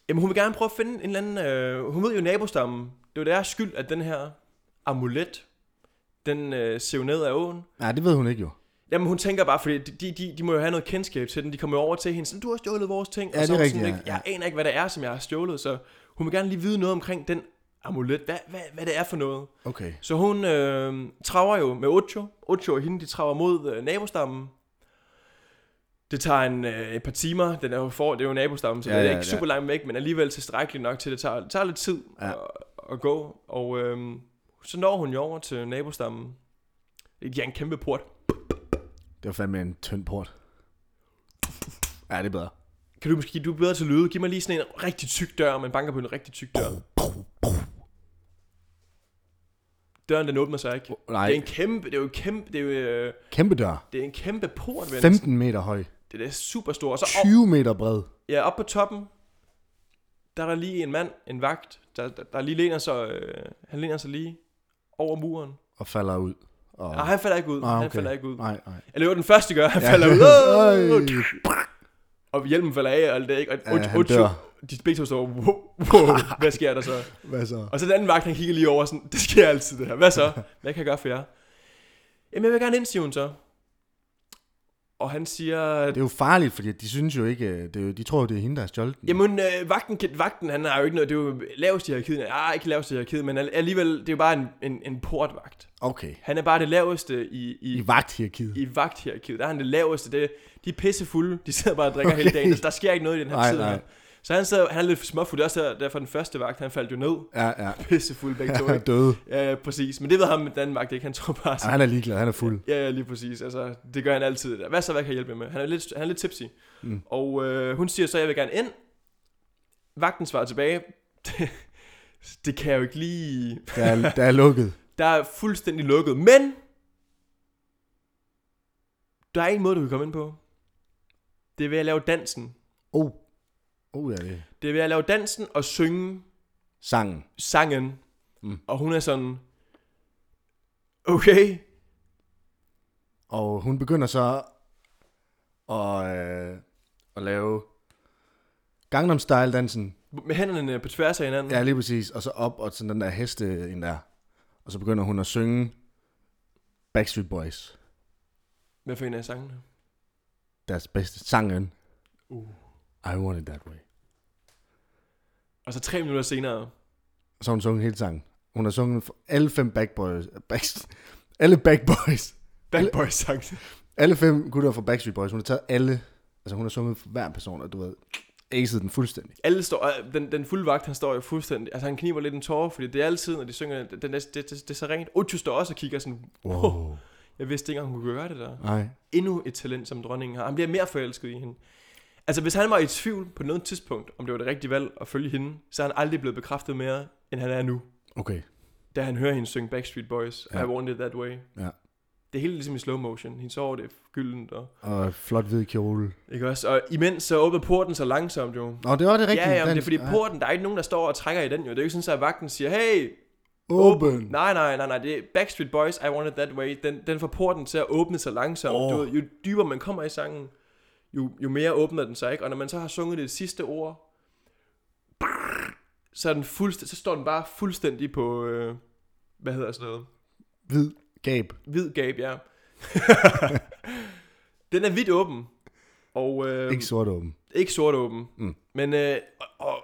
S2: jamen, hun vil gerne prøve at finde en eller anden... Øh, hun ved jo nabostammen. Det er jo deres skyld, at den her amulet, den øh, ser jo ned af åen.
S1: Nej, det ved hun ikke jo.
S2: Jamen hun tænker bare, fordi de, de, de må jo have noget kendskab til den. De kommer jo over til hende, sådan, du har stjålet vores ting.
S1: Ja,
S2: og så
S1: det er
S2: hun sådan,
S1: rigtigt,
S2: ikke,
S1: ja,
S2: Jeg aner ikke, hvad det er, som jeg har stjålet, så hun vil gerne lige vide noget omkring den amulet. Hvad, hvad, hvad det er for noget.
S1: Okay.
S2: Så hun øh, traver jo med Ocho. Ocho og hende, de traver mod øh, nabostammen. Det tager en, øh, et par timer. Den er jo for, det er jo nabostammen, så
S1: Ja,
S2: ja, det er
S1: ja,
S2: ikke
S1: ja.
S2: super langt væk, men alligevel tilstrækkeligt nok til, at det tager, det tager lidt tid
S1: Ja.
S2: ja. at, at gå. Og øh, så når hun jo over til nabostammen. Det er en kæmpe port.
S1: Det var fandme en tynd port. Ja, det er bedre.
S2: Kan du måske, du er bedre til lyde. Giv mig lige sådan en rigtig tyk dør, man banker på en rigtig tyk dør. Døren den åbner sig ikke.
S1: Oh, nej.
S2: Det er en kæmpe, det er jo en kæmpe, det er jo, øh,
S1: Kæmpe dør.
S2: det er en kæmpe port, ven.
S1: 15 meter høj.
S2: Det er super stort. Og så,
S1: 20 meter bred.
S2: Ja, oppe på toppen, der er der lige en mand, en vagt, der, der, der lige læner sig, øh, han læner sig lige over muren.
S1: og falder ud. Og...
S2: Nej, han falder ikke ud.
S1: Ah,
S2: Han falder ikke ud.
S1: Nej, nej.
S2: Eller jo, den første gør, han ja. falder ud. Åh! Og hjelmen falder af, og alt det, ikke? Og,
S1: Ja, han
S2: og,
S1: dør.
S2: og de begge to står, wow, wow, hvad sker der så?
S1: Hvad så?
S2: Og så den anden vagt, han kigger lige over sådan, det sker altid det her. Hvad så? Hvad kan jeg gøre for jer? Jamen, jeg vil gerne ind, siger hun så. Og han siger,
S1: Det er jo farligt, fordi de synes jo ikke, øh, det er jo, de tror jo, det er hende, der har stjålet den.
S2: Jamen, øh, vagten, kan- vagten, han har jo ikke noget, det er jo lavest i hierarkiet, ah, ikke lavest i hierarkiet, men al- alligevel, det er jo bare en, en, en portvagt.
S1: Okay.
S2: Han er bare det laveste i, i,
S1: I
S2: i,
S1: vagthierarkiet.
S2: i vagthierarkiet, der er han det laveste, det, de er pissefulde, de sidder bare og drikker okay. hele dagen, altså, der sker ikke noget i den her
S1: Nej,
S2: tid.
S1: nej.
S2: her. Så han, sidder, han er lidt småfuld, det er også der- derfor den første vagt, han faldt jo ned,
S1: Ja, ja.
S2: pissefuld begge to,
S1: Han
S2: ikke?
S1: er død.
S2: Ja, ja, præcis, men det ved ham med den anden vagt ikke, han tror bare,
S1: Ja,
S2: sådan,
S1: han er ligeglad, han er fuld.
S2: Ja, ja, lige præcis. Altså, det gør han altid. Hvad så, hvad kan jeg hjælpe jer med? Han er lidt, han er lidt tipsy.
S1: Mm.
S2: Mm. Og øh, hun siger så, jeg vil gerne ind. Vagten svarer tilbage. Det, det kan jeg jo ikke lige...
S1: Der er, der er lukket.
S2: Der er fuldstændig lukket. Men... Der er en måde, du kan komme ind på. Det er ved at lave dansen.
S1: Oh. Oh, ja, det er
S2: Det er ved at lave dansen og synge
S1: sangen.
S2: sangen.
S1: Mm.
S2: Mm. Og hun er sådan... Okay,
S1: Og hun begynder så at, øh, at lave Gangnam Style-dansen.
S2: med hænderne på tværs af hinanden.
S1: Ja, lige præcis. Og så op og sådan den der heste ind der. Og så begynder hun at synge Backstreet Boys.
S2: Hvad for en af sangene?
S1: Deres bedste sangen.
S2: Uh.
S1: I want it that way.
S2: Og så tre minutter senere,
S1: Og så har hun sunget hele sangen. Hun har sunget for alle fem Backboys. Back, alle Backboys.
S2: Bad Boys sang
S1: Alle fem gutter fra Backstreet Boys. Hun har taget alle. Altså hun har sunget for hver person, og du ved, aced den fuldstændig.
S2: Alle står, og den, den fulde vagt, han står jo fuldstændig, altså han kniber lidt en tårer, fordi det er altid, når de synger, den, den, det, det, det, er så rent. Ocho står også og kigger sådan, wow, jeg vidste ikke, engang, hun kunne gøre det der.
S1: Nej.
S2: Endnu et talent, som dronningen har. Han bliver mere forelsket i hende. Altså hvis han var i tvivl på noget tidspunkt, om det var det rigtige valg at følge hende, så er han aldrig blevet bekræftet mere, end han er nu,
S1: Okay.
S2: da han hører hende synge Backstreet Boys,
S1: Ja.
S2: ja. I Want It That Way.
S1: Ja.
S2: Det er helt ligesom i slow motion. Hende sover det gyldent. Og,
S1: Og flot hvid kjole.
S2: ikke også? Og imens så åbner porten så langsomt jo.
S1: Nå, det var det rigtige.
S2: Ja, ja, men det er
S1: dansk.
S2: fordi porten, der er ikke nogen, der står og trækker i den jo. Det er jo ikke sådan, at vagten siger, hey,
S1: Åben.
S2: nej, nej, nej, nej, det er Backstreet Boys, I Want It That Way. Den, den får porten til at åbne sig langsomt.
S1: Åh.
S2: Oh. Du ved, jo dybere man kommer i sangen, jo, jo mere åbner den sig, ikke? Og når man så har sunget det sidste ord, så, er den fuldstæ- så står den bare fuldstændig på, øh, hvad hedder sådan noget?
S1: Hvid gab.
S2: Hvid gab, ja. den er vidt åben. Og øh,
S1: Ikke
S2: ikke,
S1: sort åben.
S2: ikke sort åben.
S1: Mm.
S2: Men, øh, og, og,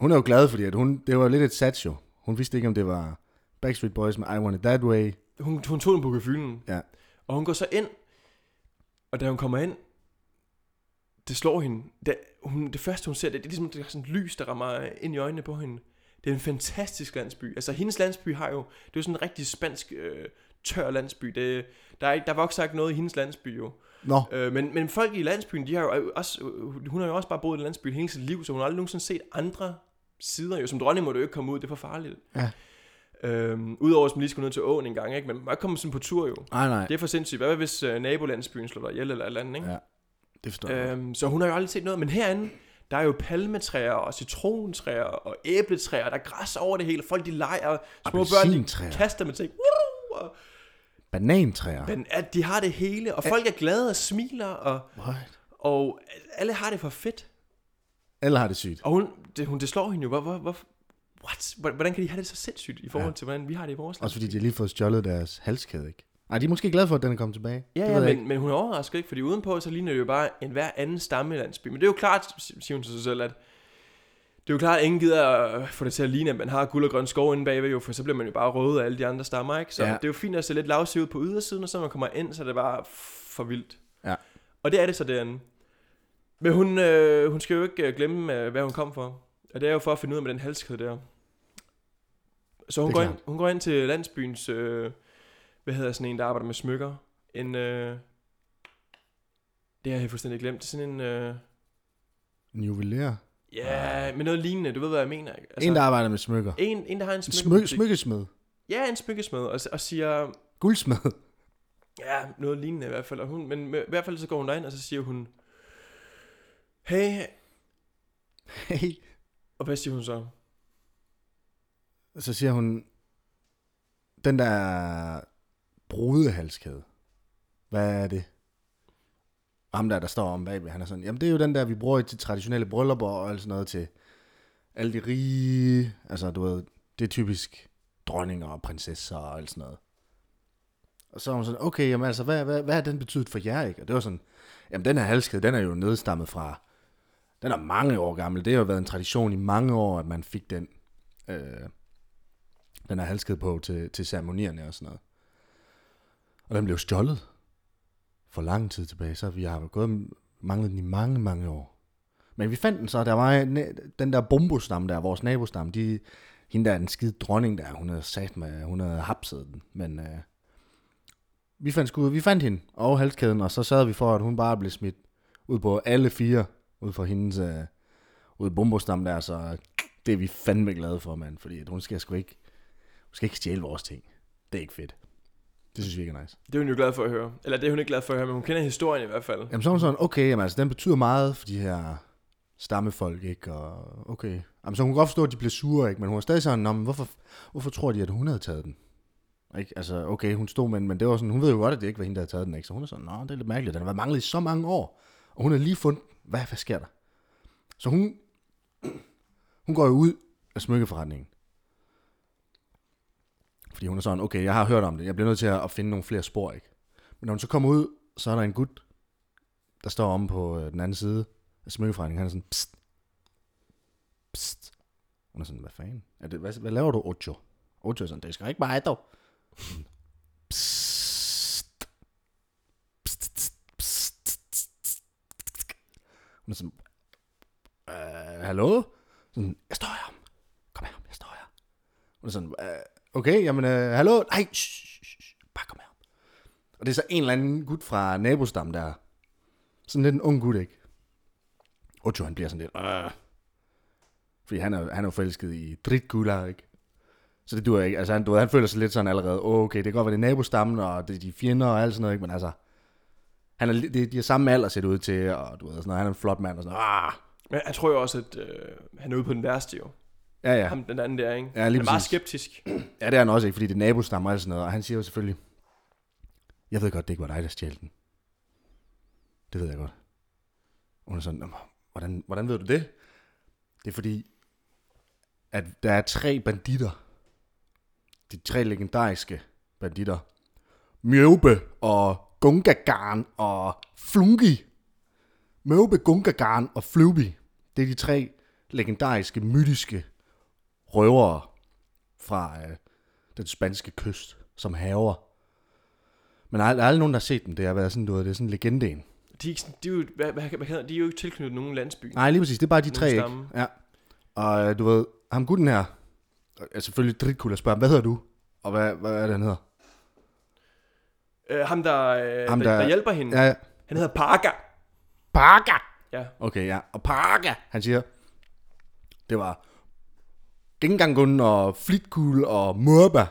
S1: Hun er jo glad, fordi at hun, det var lidt et sats jo. Hun vidste ikke, om det var Backstreet Boys med I Want It That Way.
S2: hun, hun tog den på gefylen.
S1: Ja.
S2: Og hun går så ind, og da hun kommer ind, det slår hende. Det, hun, det første, hun ser, det, det er ligesom det er sådan et lys, der rammer ind i øjnene på hende. Det er en fantastisk landsby. Altså, hendes landsby har jo... Det er jo sådan en rigtig spansk, øh, tør landsby. Det, der, er, ikke- der vokser ikke noget i hendes landsby, jo.
S1: Nå,
S2: Øh, men, men folk i landsbyen, de har jo også, øh, hun har jo også bare boet i landsbyen hele sit liv, så hun har aldrig nogensinde set andre sider. Jo, som dronning må du jo ikke komme ud, det er for farligt.
S1: Ja.
S2: Øhm, Udover at man lige skulle ned til åen en gang, ikke? men man må ikke komme sådan på tur jo.
S1: nej, nej.
S2: Det er for sindssygt. Hvad hvis øh, nabolandsbyen slår dig ihjel eller et eller andet, ikke?
S1: Ja, det forstår jeg.
S2: Ja. Øhm, så hun har jo aldrig set noget. Men herinde, der er jo palmetræer og citrontræer og æbletræer. Der er græs over det hele. Folk de leger. Små børn de
S1: Appelsintræer.
S2: kaster med ting. Woo! Og,
S1: Banantræer.
S2: men at de har det hele. Og folk er glade og smiler. Og,
S1: What?
S2: og alle har det for fedt.
S1: Alle har det sygt.
S2: Og hun, det, hun, det slår hende jo. Hvor, hvor, hvor, what? Hvor- Hvordan kan de have det så sindssygt i forhold
S1: Ja.
S2: ja. til, hvordan vi har det i vores land?
S1: Også fordi de har lige fået stjålet deres halskæde, ikke? Nej, de er måske glade for, at den er kommet tilbage. Det
S2: Ja,
S1: ved
S2: ja
S1: jeg ikke.
S2: men, men hun er overrasket ikke, fordi udenpå så ligner det jo bare en hver anden stamme i landsby. Men det er jo klart, si- siger hun til sig selv, at det er jo klart, at ingen gider at få det til at ligne, at man har guld og grøn skov inde bagved, jo, for så bliver man jo bare røget af alle de andre stammer, ikke? Så
S1: Ja.
S2: ja. det er jo fint at se lidt lavsivet på ydersiden, og så når man kommer ind, så er det bare for vildt.
S1: Ja.
S2: Og det er det så derinde. Men hun, øh, hun skal jo ikke øh, glemme, øh, hvad hun kom for. Og det er jo for at finde ud af med den halskæde der. Så hun
S1: Det er
S2: går, ind,
S1: klart.
S2: hun går ind til landsbyens, øh, hvad hedder sådan en, der arbejder med smykker. En, øh, det har jeg fuldstændig glemt. Sådan en, øh,
S1: En juveler.
S2: ja, men noget lignende. Du ved, hvad jeg mener. ikke?
S1: Altså, en, der arbejder med smykker.
S2: en, en, der har en
S1: En
S2: smykke.
S1: smyk, smykkesmed.
S2: Ja, en smykkesmed. Og, og siger,
S1: Guldsmed.
S2: Ja, noget lignende i hvert fald. Og hun, men i hvert fald så går hun derind, og så siger hun, Hey,
S1: Hey.
S2: Og hvad siger hun så?
S1: Så siger hun, den der brudehalskæde, hvad er det? Og Ham der, der står om bagved, han er sådan, jamen det er jo den der, vi bruger til traditionelle bryllupper og alt sådan noget til alle de rige, altså du ved, det er typisk dronninger og prinsesser og alt sådan noget. Og så er hun sådan, okay, jamen altså, hvad, hvad, hvad har den betydet for jer, ikke? Og det var sådan, jamen den her halskæde, den er jo nedstammet fra, den er mange år gammel. Det har jo været en tradition i mange år, at man fik den, øh, den her halskæde på til, til ceremonierne og sådan noget. Og den blev stjålet for lang tid tilbage, så vi har gået manglet den i mange, mange år. Men vi fandt den så, der var en- den der bombostamme der, vores nabostamme, de, hende der er den skide dronning der, hun havde sat med, hun havde hapset den, men øh, vi fandt skud, vi fandt hende og halskæden, og så sørgede vi for, at hun bare blev smidt ud på alle fire, ud fra hendes, øh, ud i bombostam der, så det er vi fandme glade for, mand, fordi at hun skal sgu ikke, hun skal ikke stjæle vores ting. Det er ikke fedt. Det synes vi ikke er nice.
S2: Det er hun jo glad for at høre. Eller det er hun ikke glad for at høre, men hun kender historien i hvert fald.
S1: Jamen så er hun sådan, okay, jamen, altså, den betyder meget for de her stammefolk, ikke? Og okay. Jamen, så hun kan godt forstå, at de bliver sure, ikke? Men hun er stadig sådan, "Nå, men hvorfor, hvorfor tror de, at hun havde taget den? Ikke? Altså, okay, hun stod med den, men det var sådan, hun ved jo godt, at det ikke var hende, der havde taget den, ikke? Så hun er sådan, nå, det er lidt mærkeligt, den har været manglet i så mange år, og hun har lige fundet, hvad, hvad sker der? Så hun, hun går jo ud af smykkeforretningen. Fordi hun er sådan, okay, jeg har hørt om det, jeg bliver nødt til at at finde nogle flere spor, ikke? Men når hun så kommer ud, så er der en gut, der står omme på øh, den anden side af smykkeforretningen, han er sådan, pst, pst. Hun er sådan, hvad fanden? Er det, hvad, hvad laver du, Ocho? Ocho er sådan, det skal ikke mig dog. Sådan, Pst, pst, pst, pst, pst. Hun er sådan, øh, hallo? Sådan, jeg står her. Kom her, jeg står her. Hun er sådan, øh, okay, jamen, øh, hallo? Nej, shh, shh, shh, bare kom her. Og det er så en eller anden gut fra nabostammen der, sådan lidt en ung gut, ikke? Ocho, han bliver sådan lidt... Øh. Fordi han er, han er jo forelsket i Dritgula, ikke? Så det duer ikke. Altså, han, du ved, han føler sig lidt sådan allerede, oh, okay, det kan godt være, det er nabostammen, og det er de fjender og alt sådan noget, ikke? Men altså, han er, li- de, de er samme alder set ud til, og du ved, sådan noget. han er en flot mand, og sådan ah.
S2: Men jeg tror jo også, at øh, han er ude på den værste jo.
S1: Ja, ja.
S2: Ham den anden der, ikke?
S1: Ja, lige
S2: han er meget
S1: præcis.
S2: skeptisk.
S1: Ja, det er han også ikke, fordi det er nabostammer og alt sådan noget. Og han siger jo selvfølgelig, jeg ved godt, det ikke var dig, der stjal den. Det ved jeg godt. Hun er sådan, "Nå, hvordan, hvordan ved du det? Det er fordi, at der er tre banditter. De tre legendariske banditter. Mjøbe og Gungagarn og Flungi. Mjøbe, Gungagarn og Flubi. Det er de tre legendariske, mytiske røvere, fra øh, den spanske kyst, som haver. Men der er, der er aldrig nogen, der har set dem. Det har været sådan, du ved, det er sådan legenden.
S2: De er, ikke, sådan- de, er jo, hvad, hvad, hvad, hedder- de er jo ikke tilknyttet nogen landsby.
S1: Nej, lige præcis. Det er bare de
S2: Nogen
S1: tre, ikke?
S2: stamme.
S1: Ja. Og øh, du ved, ham gutten her, er selvfølgelig dritkul at spørge ham, hvad hedder du? Og hvad, hvad er det, han hedder?
S2: Øh, ham, der, øh,
S1: Ham,
S2: ham der,
S1: der-
S2: der hjælper hende, ja.
S1: Ja, ja.
S2: han hedder Parker.
S1: Parker!
S2: Ja,
S1: Okay, ja. Og Parker, han siger, det var Gengangun og Flitkugle og Mørba.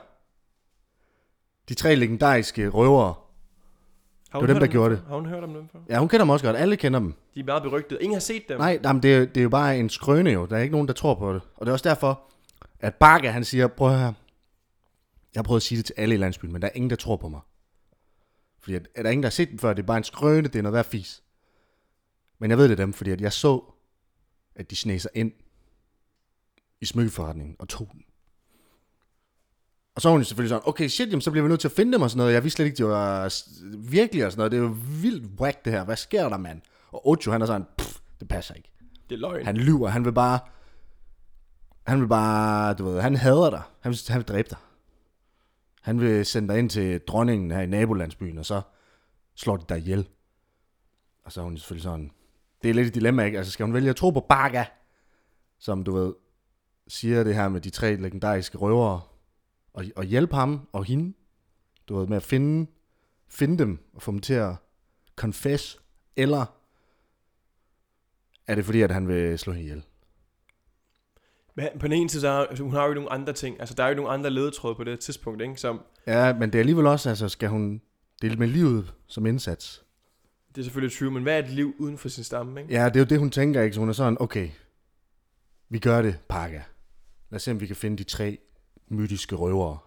S1: De tre legendariske røvere.
S2: har
S1: Det var dem,
S2: hun hørt
S1: der
S2: om
S1: gjorde
S2: før? Har hun hørt om dem før?
S1: Ja, hun kender dem også godt. Alle kender dem.
S2: De er meget berygtede. Ingen har set dem.
S1: Nej, jamen, det, er, det er jo bare en skrøne jo. Der er ikke nogen, der tror på det. Og det er også derfor, at Barca han siger, prøv her. Jeg har prøvet at sige det til alle i landsbyen, men der er ingen, der tror på mig. Fordi at, at der er ingen, der har set dem før. Det er bare en skrøne, det er noget værd fis. Men jeg ved det er dem, fordi at jeg så, at de sneg sig ind i smykkeforretningen og tog den. Og så er hun jo selvfølgelig sådan, okay shit, jamen, så bliver vi nødt til at finde dem og sådan noget. Jeg vidste slet ikke, de var s- virkelig og sådan noget. Det er jo vildt whack det her. Hvad sker der, mand? Og Ocho, han er sådan, pff, det passer ikke.
S2: Det er løgn.
S1: Han
S2: Han...
S1: lyver, han vil bare... Han vil bare, du ved, han hader dig. Han vil, han vil dræbe dig. Han vil sende dig ind til dronningen her i nabolandsbyen, og så slår de dig ihjel. Og så er hun selvfølgelig sådan... Det er lidt et dilemma, ikke? Altså, skal hun vælge at tro på Baga, som du ved, siger det her med de tre legendariske røvere, og, og hjælpe ham og hende, du ved, med at finde, finde dem, og få dem til at confess, eller er det fordi, at han vil slå hende ihjel?
S2: Men på den ene side, så har, altså, hun har jo nogle andre ting. Altså, der er jo nogle andre ledetråde på det her tidspunkt, ikke? Så
S1: Ja, men det er alligevel også, altså skal hun dele med livet som indsats.
S2: det er selvfølgelig true, men hvad er et liv uden for sin stamme, ikke?
S1: Ja, det er jo det, hun tænker, ikke? Så hun er sådan, okay, Vi gør det, Parker. Lad os se, om vi kan finde de tre mytiske røvere.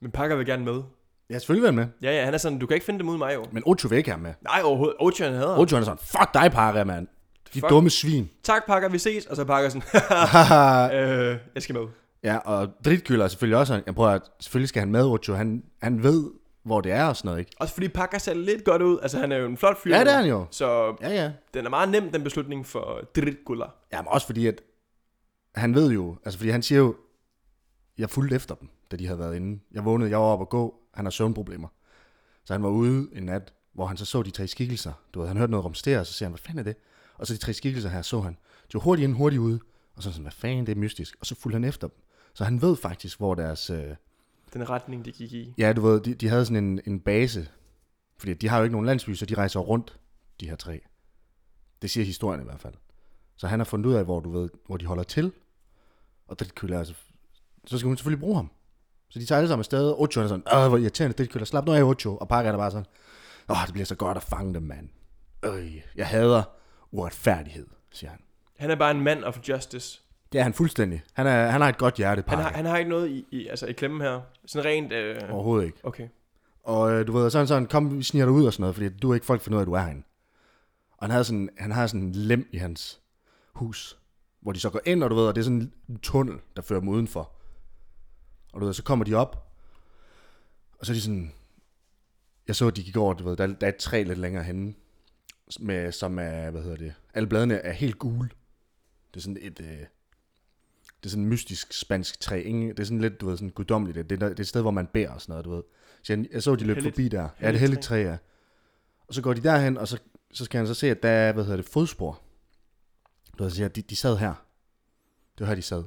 S2: Men Parker vil gerne med.
S1: Jeg har selvfølgelig været med,
S2: Ja, ja, han er sådan, du kan ikke finde dem uden mig, jo.
S1: men Ocho vil ikke have med.
S2: Nej, overhovedet. Ocho, han hader.
S1: Ocho han er sådan, fuck dig, Parker, mand. De
S2: Fuck.
S1: dumme svin.
S2: Tak, Parker, vi ses. Og så er Parker sådan, øh, jeg skal med.
S1: ja, og dritgylder er selvfølgelig også, sådan, jeg prøver at, selvfølgelig skal han med, Ocho. Han, han ved, hvor det er og sådan noget, ikke?
S2: Også fordi Parker ser lidt godt ud. Altså, han er jo en flot fyr.
S1: Ja, det er han jo.
S2: Så
S1: Ja, ja.
S2: den er meget nem, den beslutning for Dritgulder.
S1: Jamen også fordi, at han ved jo, altså fordi han siger jo, jeg fulgte efter dem, da de havde været inde. Jeg vågnede, jeg var oppe at gå, han har søvnproblemer. Så han var ude en nat, hvor han så så de tre skikkelser. Du ved, han hørte noget rumstere, og så siger han, hvad fanden er det? Og så de tre skikkelser her så han. De var hurtigt ind, hurtigt ude. Og så er han sådan, hvad fanden, det er mystisk. Og så fulgte han efter dem. Så han ved faktisk, hvor deres... Øh,
S2: Den retning, de gik i.
S1: ja, du ved, de, de havde sådan en, en base. Fordi de har jo ikke nogen landsby, så de rejser rundt, de her tre. Det siger historien i hvert fald. Så han har fundet ud af, hvor, du ved, hvor de holder til. Og dritkøller, altså, så skal hun selvfølgelig bruge ham. Så de tager alle sammen afsted. Ocho han er sådan, Åh, hvor irriterende dritkøller. Slap nu af, Ocho. Og Parker er der bare sådan, Åh, det bliver så godt at fange dem, mand. Øh, jeg hader uretfærdighed, siger han.
S2: Han er bare en man of justice.
S1: Det er han fuldstændig. Han, er, han har et godt hjerte,
S2: Han
S1: Parker.
S2: har, han har ikke noget i, i, altså, i klemmen her. Sådan rent... Øh,
S1: Overhovedet ikke.
S2: okay.
S1: Og øh, du ved, sådan sådan, kom, vi sniger dig ud og sådan noget, fordi du er ikke folk finder ud af, at du er herinde. Og han, havde sådan, han har sådan en lem i hans hus, hvor de så går ind, og du ved, og det er sådan en tunnel, der fører dem udenfor. Og du ved, så kommer de op, og så er de sådan, jeg så, at de gik over, du ved, der, der er et træ lidt længere henne, med, som er, hvad hedder det, alle bladene er helt gule. Det er sådan et, øh, det er sådan en mystisk spansk træ. Ingen, det er sådan lidt, du ved, sådan guddommeligt. Det, det, er- det er et sted, hvor man bærer og sådan noget, du ved. Så jeg, jeg så, de løb
S2: Helligt-
S1: forbi der. Ja, det er
S2: helligt
S1: heldigt træ, ja. Og så går de derhen, og så, så skal han så se, at der er, hvad hedder det, fodspor. Du ved, så siger, jeg, de, de sad her. Det var her, de sad.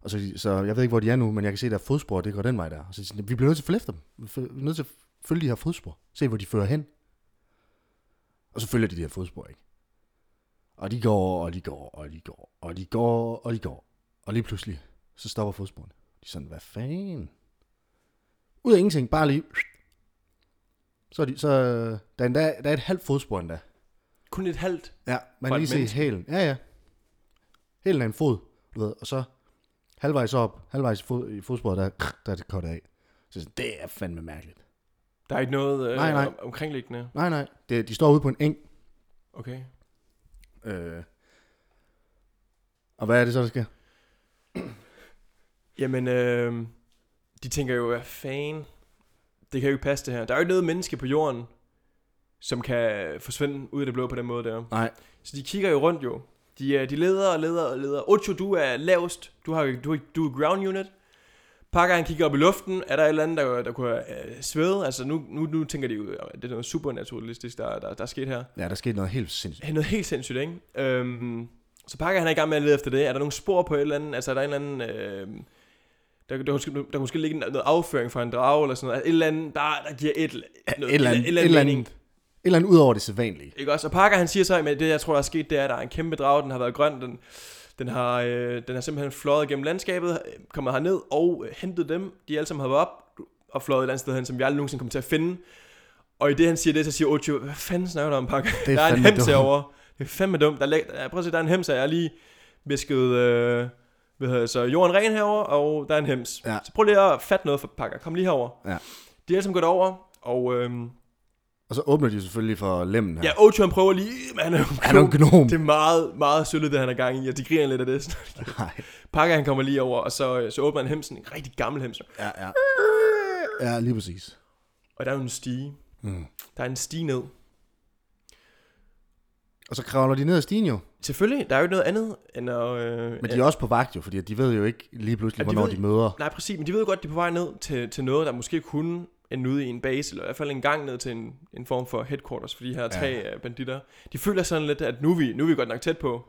S1: Og så, så jeg ved ikke, hvor de er nu, men jeg kan se, at der er fodspor, det går den vej der. Og så siger, de, vi bliver nødt til at følge efter dem. Vi fø- vi er nødt til at følge de her fodspor. Se, hvor de fører hen. Og så følger de de her fodspor, ikke? Og de går, og de går, og de går, og de går, og de går. Og lige pludselig, så stopper fodsporene. De er sådan, hvad fanden? Ud af ingenting, bare lige... Så er de, så, øh, der, er endda, der er et halvt fodspor endda.
S2: Kun et halvt.
S1: Ja, man kan
S2: For et
S1: lige se
S2: menneske.
S1: hælen. Ja, ja. Hælen er en fod, du ved. Og så halvvejs op, halvvejs i, fod, i fodsporet, der, der er det kort af. Så sådan, det er fandme mærkeligt.
S2: Der er ikke noget øh,
S1: Nej, nej.
S2: Om, omkringliggende.
S1: Nej, nej. Det, de står ude på en eng.
S2: Okay.
S1: Øh. Og hvad er det så, der sker?
S2: Jamen, øh, de tænker jo, hvad fanden, det kan jo ikke passe det her. Der er jo ikke noget menneske på jorden, som kan forsvinde ud af det blå på den måde der.
S1: Nej.
S2: Så de kigger jo rundt jo. De, øh, de leder og leder og leder. Ocho, du er lavest. Du, har, du, du er ground unit. Pakker, han kigger op i luften. Er der et eller andet, der, der kunne øh, svæde? Altså, nu, nu, nu tænker de jo, at det er noget supernaturalistisk, der, der, der er sket her.
S1: Ja, der skete noget helt sindssygt.
S2: Han er noget helt sindssygt, ikke? Øhm, så pakker han er i gang med at lede efter det. Er der nogle spor på et eller andet? Altså, er der en eller anden... Øh, der, der, der, måske- der, måske ligge noget afføring fra en drage eller sådan noget. Altså, et eller andet, der, der giver et, noget,
S1: et eller andet- et eller andet.
S2: mening.
S1: Et eller andet ud over det sædvanlige.
S2: Ikke også? Og Parker han siger så, at det jeg tror der er sket, det er, at der er en kæmpe drage, den har været grøn, den, den, har, øh, den har simpelthen fløjet gennem landskabet, øh, kommet herned og øh, hentet dem, de alle sammen har været op og fløjet et eller andet sted hen, som vi aldrig nogensinde kommer til at finde. Og i det han siger det, så siger Ocho, hvad fanden snakker du om, Parker?
S1: Det er
S2: der er en
S1: fandme
S2: hems
S1: dumt."
S2: herovre. Det er fandme dumt. Der er, læ- prøv at se, der er en hems her. Jeg har lige visket øh, hvad hedder det, så jorden ren herover og der er en hems.
S1: Ja.
S2: Så prøv lige at fatte noget for Parker. Kom lige herover.
S1: Ja.
S2: De er alle sammen gået over, og øh,
S1: Og så åbner de selvfølgelig for lemmen her.
S2: ja, Ocho han prøver lige, men han er jo
S1: Han er jo en gnom.
S2: det er meget, meget sølvet, det han er gang i, og de griner lidt af det.
S1: Nej.
S2: Pakker han kommer lige over, og så, øh, så åbner han hemsen, en rigtig gammel hems.
S1: Ja, ja. Ja, lige præcis.
S2: Og der er jo en stige.
S1: Mm.
S2: Der er en stige ned.
S1: Og så kravler de ned ad stien jo.
S2: Selvfølgelig, der er jo ikke noget andet end at... Øh,
S1: Men de er også på vagt jo, fordi de ved jo ikke lige pludselig,
S2: Ja, de
S1: hvornår
S2: ved-
S1: de møder.
S2: Nej, præcis, men de ved jo godt, at de er på vej ned til, til noget, der måske kunne ende ude i en base, eller i hvert fald en gang ned til en, en form for headquarters for de her tre ja. banditter. De føler sådan lidt, at nu er, vi, nu er vi godt nok tæt på.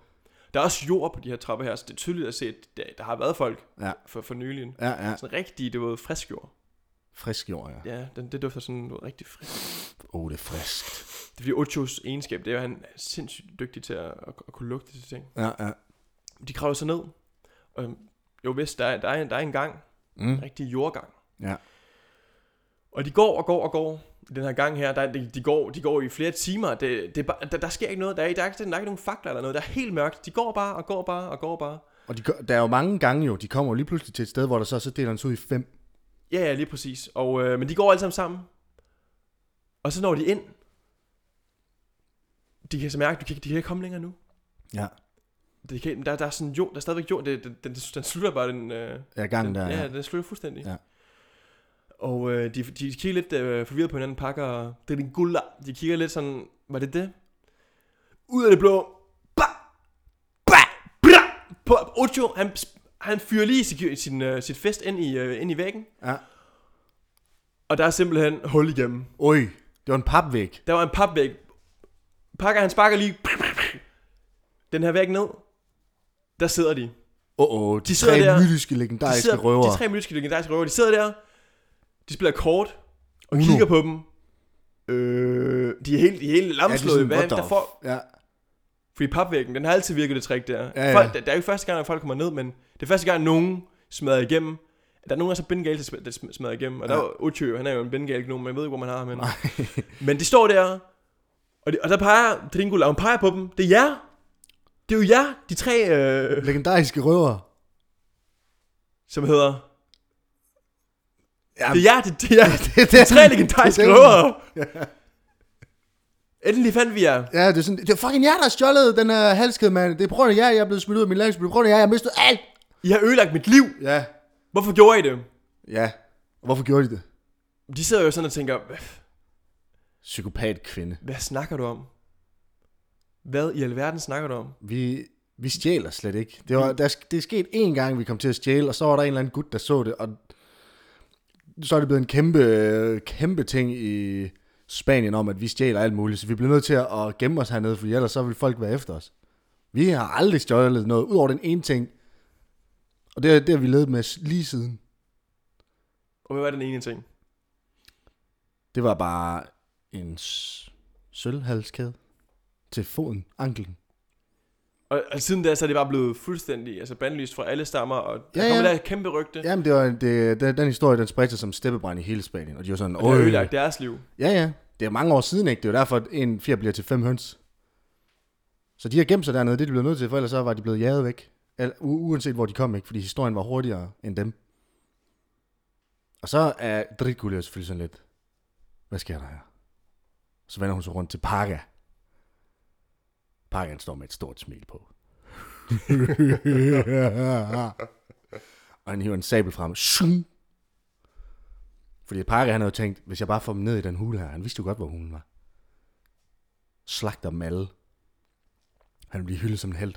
S2: Der er også jord på de her trapper her, så det er tydeligt at se, at der, der har været folk
S1: Ja.
S2: for, for nylig.
S1: Ja, ja.
S2: Sådan rigtig, det var frisk jord.
S1: Frisk jord, ja.
S2: Ja, den, det dufter sådan noget rigtig frisk.
S1: Åh, oh, det er friskt.
S2: Det er fordi Ochos egenskab, det er, at han er sindssygt dygtig til at, at, at kunne lugte de ting.
S1: Ja, ja.
S2: De kravler sig ned, øhm, og jo vist, der er, der er, der er en gang,
S1: Mm.
S2: en rigtig jordgang.
S1: Ja.
S2: Og de går og går og går i den her gang her. Der, de, de, går, de går i flere timer. Det, det, er bare- der, der sker ikke noget. Der er, der, er, ikke- der er ikke nogen fakler eller noget. Der er helt mørkt. De går bare og går bare og går bare.
S1: Og de, gør- der er jo mange gange jo, de kommer jo lige pludselig til et sted, hvor der så, så deler den sig ud i fem.
S2: Ja, ja, lige præcis. Og, øh, men de går alle sammen sammen. Og så når de ind. De kan så mærke, at de kan, de kan ikke komme længere nu.
S1: Ja.
S2: De kan, der, der er sådan jord, der er stadigvæk jord. Det, det, den, den slutter bare den... Øh,
S1: Ja, gangen der.
S2: den, ja,
S1: Ja.
S2: den slutter fuldstændig.
S1: Ja.
S2: Og øh, de, de kigger lidt øh, forvirret på hinanden, pakker... Det er den guld. De kigger lidt sådan... Var det det? Ud af det blå. Ba! Ba! Bra! På, Ocho, han, han fyrer lige sit, sin, øh, sit fest ind i, øh, ind i væggen.
S1: ja.
S2: Og der er simpelthen hul igennem.
S1: Oj, det var en papvæg.
S2: Der var en papvæg. Pakker han sparker lige. Den her væg ned. Der sidder de.
S1: Åh, oh, oh, de, de
S2: sidder
S1: tre
S2: der.
S1: mytiske
S2: De,
S1: legendariske
S2: sidder,
S1: røver.
S2: de tre mytiske legendariske røver, de sidder der. De spiller kort. Og
S1: Uno.
S2: kigger på dem. Øh, de er helt, de er helt
S1: ja, de er
S2: lamslået.
S1: sådan,
S2: Ja,
S1: what the
S2: der får,
S1: f- ja.
S2: fordi papvæggen, den har altid virket det trick der.
S1: Ja, ja.
S2: Folk, det, det er jo ikke første gang, at folk kommer ned, men det er første gang, nogen smadrer igennem. Der er nogen, der er så bindegale, der sm- der sm- smadrer igennem. Og der
S1: Ja.
S2: er Ucho, han er jo en bindegale gnom, men jeg ved ikke, hvor man har ham. henne.
S1: Nej.
S2: Men de står der, og, de, og der peger Dringula, hun peger på dem. Det er jer. Det er jo jer, de tre, øh,
S1: Legendariske røver.
S2: som hedder...
S1: Ja,
S2: Det er jer, det, det er jer.
S1: det, det,
S2: De tre legendariske
S1: det er dem.
S2: røver. Endelig fandt vi jer.
S1: Ja, det er sådan, det er fucking jer, der har stjålet den her halskæde, mand. Det er på grund af jer, jeg er blevet smidt ud af min landsby. Det er på grund af jer, jeg har mistet alt.
S2: I har ødelagt mit liv.
S1: Ja,
S2: Hvorfor gjorde I det?
S1: ja. Og hvorfor gjorde de det?
S2: De sidder jo sådan og tænker, hvad,
S1: Psykopat kvinde.
S2: hvad snakker du om? Hvad i alverden snakker du om?
S1: Vi, vi stjæler slet ikke. Det, var, der, sk- det er sket én gang, vi kom til at stjæle, og så var der en eller anden gut, der så det, og så er det blevet en kæmpe, øh, kæmpe ting i Spanien om, at vi stjæler alt muligt, så vi bliver nødt til at at gemme os hernede, for ellers så vil folk være efter os. Vi har aldrig stjålet noget, ud over den ene ting. Og det, er- det har vi levet med s- lige siden.
S2: Og hvad var den ene ting?
S1: Det var bare en s- sølvhalskæde til foden, anklen.
S2: Og, og siden da, så er det bare blevet fuldstændig altså bandlyst fra alle stammer, og der
S1: Ja,
S2: kommer
S1: ja.
S2: der et kæmpe rygte, ja.
S1: Jamen, det var, det, den, den historie, den spredte sig som steppebrand i hele Spanien, og de var sådan,
S2: og det har
S1: "Øj."
S2: ødelagt deres liv.
S1: Ja, ja. Det er mange år siden, ikke? Det er jo derfor, at en fjer bliver til fem høns. Så de har gemt sig dernede, det er de blevet nødt til, for ellers så var de blevet jaget væk. Al- u- uanset hvor de kom, ikke? Fordi historien var hurtigere end dem. Og så er Dricula jo selvfølgelig sådan lidt, hvad sker der her? Så vender hun sig rundt til Parga. Pargan står med et stort smil på. og han hiver en sabel frem. Shung! Fordi Parker han havde jo tænkt, hvis jeg bare får dem ned i den hule her, han vidste jo godt, hvor hulen var. Slagter dem alle. Han vil blive hyldet som en held.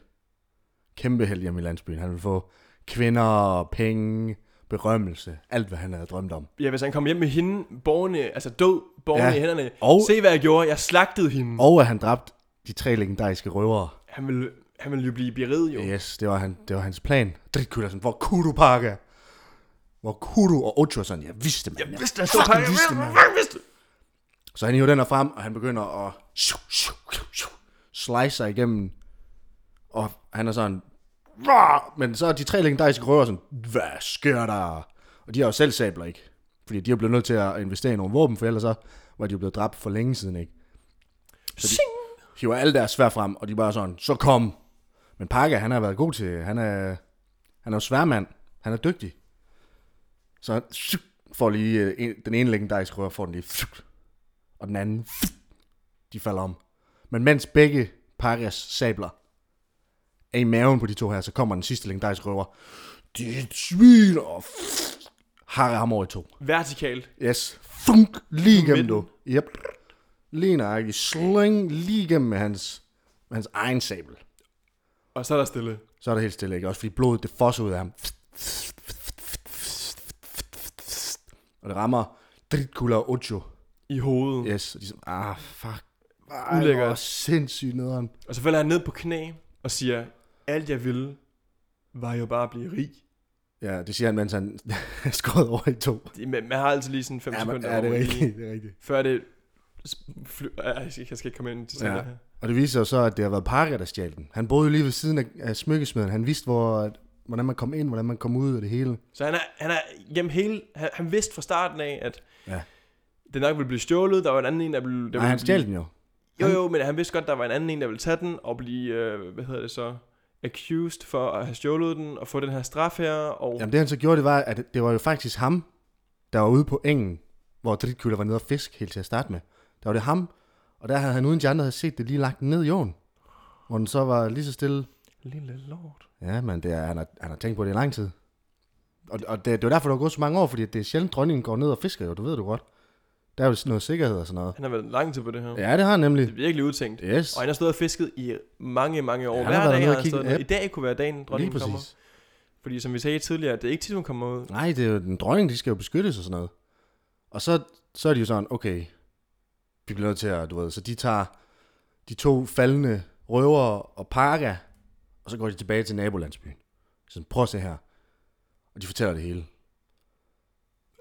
S1: Kæmpe held hjemme i landsbyen. Han vil få kvinder, penge, berømmelse. Alt, hvad han havde drømt om.
S2: Ja, hvis han kom hjem med hende, borgerne, altså død, borgerne ja.
S1: Ja.
S2: i hænderne. Og...
S1: Og-
S2: Se, hvad jeg gjorde. Jeg slagtede hende. Og...
S1: Og at han dræbte de tre legendariske røvere.
S2: Han, ville, han ville jo blive beriget, jo. Ja.
S1: Yes, det var, han, det var hans plan. Dritkylder sådan, hvor kunne du, Parker? Hvor kunne du? Og Ocho er sådan, jeg vidste, man.
S2: Jeg vidste, han stod her. Jeg
S1: vidste,
S2: vidste,
S1: mand.
S2: jeg vidste.
S1: Så han hiver den her frem, og han begynder at shu, shu, shu, shu, slice sig igennem. Og han er sådan... "Rah!" Men så er de tre legendariske røver sådan, hvad sker der? Og de har jo selv sabler, ikke? Fordi de er blevet nødt til at investere i nogle våben, for ellers så var de jo blevet dræbt for længe siden, ikke?
S2: Sing!
S1: Hiver alle deres svær frem, og de er bare sådan, så kom! Men Parker, han har været god til, han er, han er jo sværmand, han er dygtig. Så han shu, får lige, øh, en, den ene legendariske røver får den lige, shu, og den anden, de falder om. Men mens begge Parias sabler er i maven på de to her, så kommer den sidste legendariske røver. De svin og har ham over i to.
S2: Vertikalt.
S1: Yes. Funk lige igennem
S2: midten.
S1: du. Yep. Lige nøjagtigt. Sling lige igennem med hans, med hans egen sabel.
S2: Og så er der stille.
S1: Så er der helt stille, ikke? Også fordi blodet, det fosser ud af ham. Og det rammer dritkula og Ocho.
S2: I hovedet. Ja.
S1: Yes. Og de er sådan, ah, fuck.
S2: Ulækkert.
S1: Ej, hvor sindssygt nederen.
S2: Og så falder han ned på knæ og siger, alt jeg ville, var jo bare at blive rig.
S1: Ja, det siger han, mens han er skåret over i to.
S2: Det- Man, man har altid lige sådan 5
S1: Ja, men,
S2: sekunder
S1: ja, det er
S2: over lige-
S1: rigtigt, det er rigtigt.
S2: Før det... sp- Fly, Ej, jeg skal jeg skal ikke komme ind til
S1: Ja.
S2: ja. her.
S1: Og det viser jo så, at det har været Parker, der stjal den. Han boede jo lige ved siden af, af smykkesmeden. Han vidste, hvor, at, hvordan man kom ind, hvordan man kom ud og det hele.
S2: Så han er, han er gennem hele... Han, han vidste fra starten af, at
S1: Ja.
S2: det nok ville blive stjålet, der var en anden en, der ville... Der
S1: Nej,
S2: ville
S1: han stjal den jo.
S2: Jo, jo, men han vidste godt, der var en anden en, der ville tage den og blive, øh, hvad hedder det så, accused for at have stjålet den og få den her straf her. Og
S1: Jamen det han så gjorde, det var, at det var jo faktisk ham, der var ude på engen, hvor dritkøller var nede og fisk helt til at starte med. Der var det ham, og der havde han uden de andre havde set det lige lagt den ned i jorden. Hvor den så var lige så stille.
S2: lille lort.
S1: Ja, men det er, han, har, han har tænkt på det i lang tid. Og, og det, det er jo derfor, der er gået så mange år, fordi det er sjældent, dronningen går ned og fisker jo, du ved du godt. Der er jo noget sikkerhed og sådan noget.
S2: Han har været lang tid på det her.
S1: Ja, det har han
S2: Det er
S1: nemlig.
S2: virkelig udtænkt.
S1: Yes,
S2: Og han har stået og fisket i mange, mange år.
S1: Ja,
S2: Ja,
S1: han har
S2: Hver
S1: været
S2: dag
S1: dernede og
S2: har han
S1: kigget-
S2: stået ned.
S1: ja.
S2: I dag kunne være dagen,
S1: lige
S2: dronningen kommer.
S1: præcis.
S2: Fordi som vi sagde tidligere, det er ikke tit, hun kommer ud.
S1: Nej, det er jo den dronning, de skal jo beskyttes og sådan noget. Og så, så er de jo sådan, okay, vi bliver nødt til at, du ved, så de tager de to faldende røver og parker, og så går de tilbage til nabolandsbyen. Så sådan, prøv at se her. Og de fortæller det hele.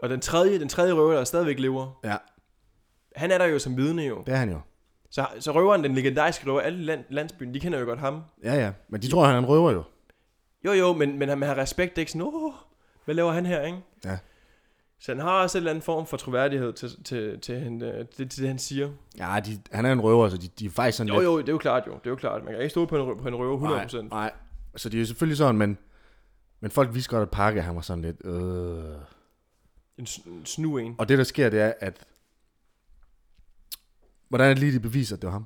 S2: Og den tredje, den tredje røver, der stadigvæk lever,
S1: Ja,
S2: han er der jo som vidne jo.
S1: det er han jo.
S2: Så, så røveren, den legendariske røver, alle i land, landsbyen, de kender jo godt ham.
S1: Ja, ja. Men de tror, han er en røver jo.
S2: Jo, jo, men, men han man har respekt, det er ikke sådan, oh, hvad laver han her, ikke?
S1: Ja.
S2: Så han har også en eller anden form for troværdighed til, til, til, han, øh, til, til det, han siger.
S1: Ja, de, han er en røver, så de, de er faktisk sådan
S2: Jo,
S1: lidt...
S2: jo, det er jo klart jo. Det er jo klart. Man kan ikke stole på en, rø- på en røver 100%.
S1: Nej, nej. Så de er jo selvfølgelig sådan, men, men folk vidste godt, at Parker, han var sådan lidt... Øh.
S2: En, s- en snu en.
S1: Og det, der sker, det er, at... Hvordan er det lige, de beviser, at det var ham?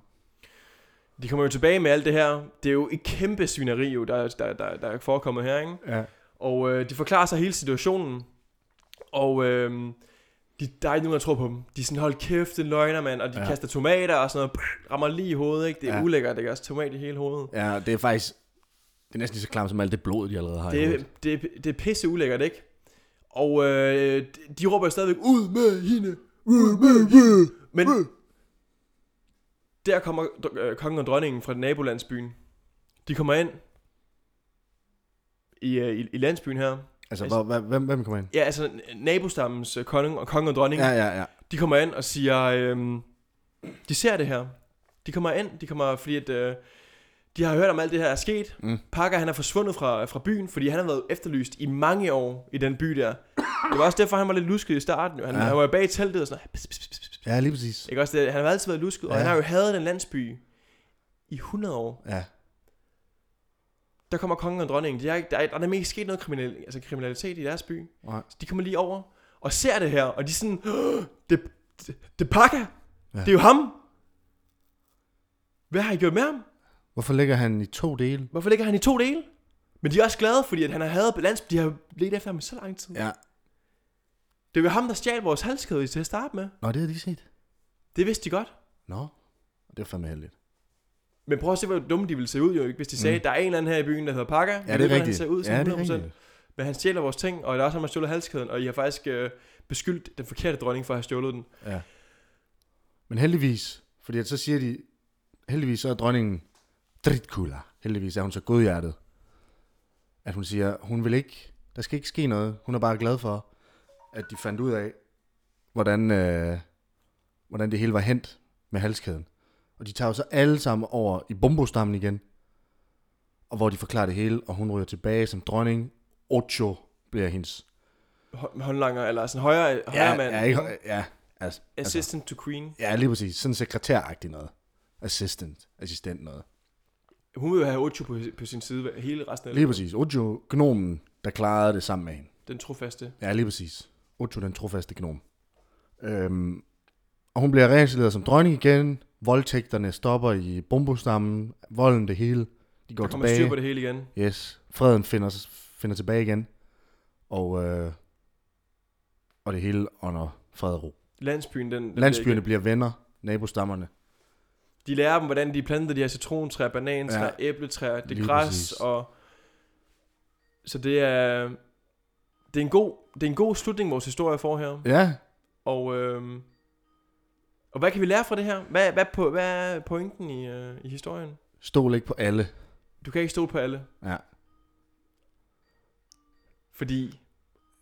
S2: De kommer jo tilbage med alt det her. Det er jo et kæmpe svineri, jo, der, der, der, der er forekommet her, ikke?
S1: Ja.
S2: Og øh, de forklarer sig hele situationen. Og øh, de, der er ikke nogen, der tror på dem. De er sådan, hold kæft, det er løgner, mand. Og de
S1: Ja.
S2: ja. kaster tomater og sådan noget. Pff, rammer lige i hovedet, ikke? Det er
S1: Ja.
S2: ja. ulækkert, ikke? Også tomat i hele hovedet.
S1: Ja, det er faktisk... Det er næsten lige så klamt som alt det blod, de allerede har i
S2: Det,
S1: hovedet.
S2: det, det er pisse ulækkert, ikke? Og øh, de- de råber jo stadigvæk, ud med hende, ud med hende.
S1: Øh.
S2: Men der kommer dr- øh, kongen og dronningen fra nabolandsbyen. De kommer ind i, øh, i, i landsbyen her.
S1: Altså, hvor, hvad, hvem, hvem kommer ind?
S2: Ja, altså nabostammens øh, konge og konge og dronning,
S1: Ja,
S2: ja.
S1: ja, ja.
S2: de kommer ind og siger, øh, de ser det her. De kommer ind, de kommer, fordi at, øh, de har hørt om alt det her er sket.
S1: Mm.
S2: Parker han er forsvundet fra, fra byen, fordi han har været efterlyst i mange år i den by der. Det var også derfor, han var lidt lusket i starten. jo. Han,
S1: Ja.
S2: ja. han var jo bag i teltet og sådan noget. Pss, pss, pss, pss.
S1: Ja, lige præcis.
S2: Ikke også det? Han har altid været lusket,
S1: Ja.
S2: ja. og han har jo hadet den landsby i 100 år.
S1: Ja.
S2: Der kommer kongen og dronningen. De har ikke, der, er, der er nemlig ikke sket noget kriminal, altså kriminalitet i deres by.
S1: Nej.
S2: Så de kommer lige over og ser det her, og de er sådan, "Åh, det, det, det pakker.
S1: Ja.
S2: Ja. Det er jo ham. Hvad har I gjort med ham?
S1: Hvorfor ligger han i to dele?
S2: Hvorfor ligger han i to dele? Men de er også glade, fordi at han har hadet landsby. De har let efter ham i så lang tid.
S1: Ja.
S2: Det var ham, der stjal vores halskæde til at starte med.
S1: Nå, det havde de set.
S2: Det vidste de godt.
S1: Nå. Det er fandme heldigt.
S2: Men prøv at se, hvor dumme de ville se ud jo, ikke? Hvis de sagde, mm. der er en eller anden her i byen, der hedder Pakker. Vi
S1: Ja, det
S2: ved,
S1: er
S2: hvordan
S1: rigtigt.
S2: Han ser ud, som
S1: ja, det
S2: 100%.
S1: er rigtigt.
S2: Men han stjæler vores ting, og der er også ham, der stjålet halskæden, og I har faktisk øh, beskyldt den forkerte dronning for at have stjålet den.
S1: Ja. Men heldigvis, fordi at så siger de, heldigvis så er dronningen dritkula. Heldigvis er hun så godhjertet, at hun siger, hun vil ikke, der skal ikke ske noget. Hun er bare glad for, at de fandt ud af, hvordan, øh, hvordan det hele var hent med halskæden. Og de tager jo så alle sammen over i bombostammen igen, og hvor de forklarer det hele, og hun ryger tilbage som dronning. Ocho bliver hendes.
S2: Hå- Håndlanger, eller sådan højre, højre mand.
S1: ja, ikke, ja, altså, altså.
S2: Assistant to queen.
S1: Ja, lige præcis. Sådan sekretæragtigt noget. Assistant. Assistent noget.
S2: Hun vil jo have Ocho på, på sin side hele resten af
S1: Lige præcis. Ojo, gnomen, der klarede det sammen med hende.
S2: den trofaste.
S1: Ja, lige præcis. Ojo, den trofaste gnom. Øhm, og hun bliver reinstalleret som dronning igen. Voldtægterne stopper i bombostammen. Volden, det hele. De går
S2: Der kommer
S1: tilbage.
S2: styr på det hele igen.
S1: Yes. Freden finder, finder tilbage igen. Og, øh, og det hele under fred og ro.
S2: Landsbyen, den, den
S1: Landsbyerne bliver venner. Nabostammerne.
S2: De lærer dem, hvordan de planter de her citrontræer, banantræer, ja. æbletræer, det
S1: Lige
S2: er græs,
S1: præcis.
S2: og... Så det er... Det er, en god, det er en god slutning, vores historie får her.
S1: Ja,
S2: Og, øhm, og hvad kan vi lære fra det her? Hvad, hvad, på, hvad er pointen i, øh, i historien?
S1: stol ikke på alle.
S2: Du kan ikke stole på alle.
S1: Ja.
S2: Fordi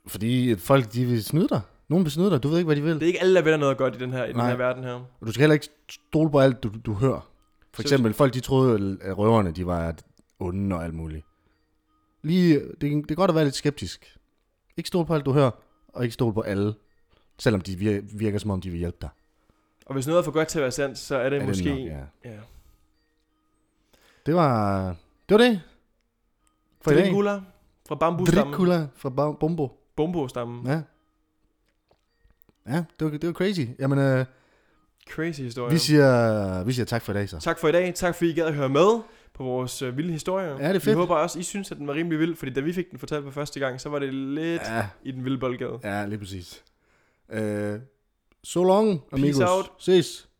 S1: Fordi at folk, de vil snyde dig. Nogen vil snyde dig. Du ved ikke, hvad de vil.
S2: det er ikke alle, der vender noget godt i den her, i den
S1: Nej.
S2: her verden her.
S1: Og du skal heller ikke stole på alt, du, du hører. For
S2: Så-
S1: eksempel, folk de troede, at røverne de var onde og alt muligt. Lige, det, det er godt at være lidt skeptisk. Ikke stole på alt, du hører, og ikke stole på alle. Selvom de vir- virker, som om de vil hjælpe dig.
S2: Og hvis noget er for godt til at være sandt, så er det,
S1: Er det
S2: måske...
S1: nok, ja.
S2: ja.
S1: Det var det. Var det. For i dag.
S2: Drikula fra bambustammen.
S1: Drikula fra Ba- Bombo.
S2: Bombostammen.
S1: Ja. Ja, det var, det var crazy. Jamen, øh,
S2: Crazy historie.
S1: vi, siger, vi siger tak for i dag, så.
S2: Tak for i dag. Tak fordi I gad at høre med på vores øh, vilde historie.
S1: Ja, det er fedt.
S2: Vi håber også, I synes, at den var rimelig vild, fordi da vi fik den fortalt for første gang, så var det lidt ja.
S1: Ja,
S2: i den vilde boldgade.
S1: ja lige præcis. Øh, Eh, so long, amigos.
S2: out.
S1: Ses.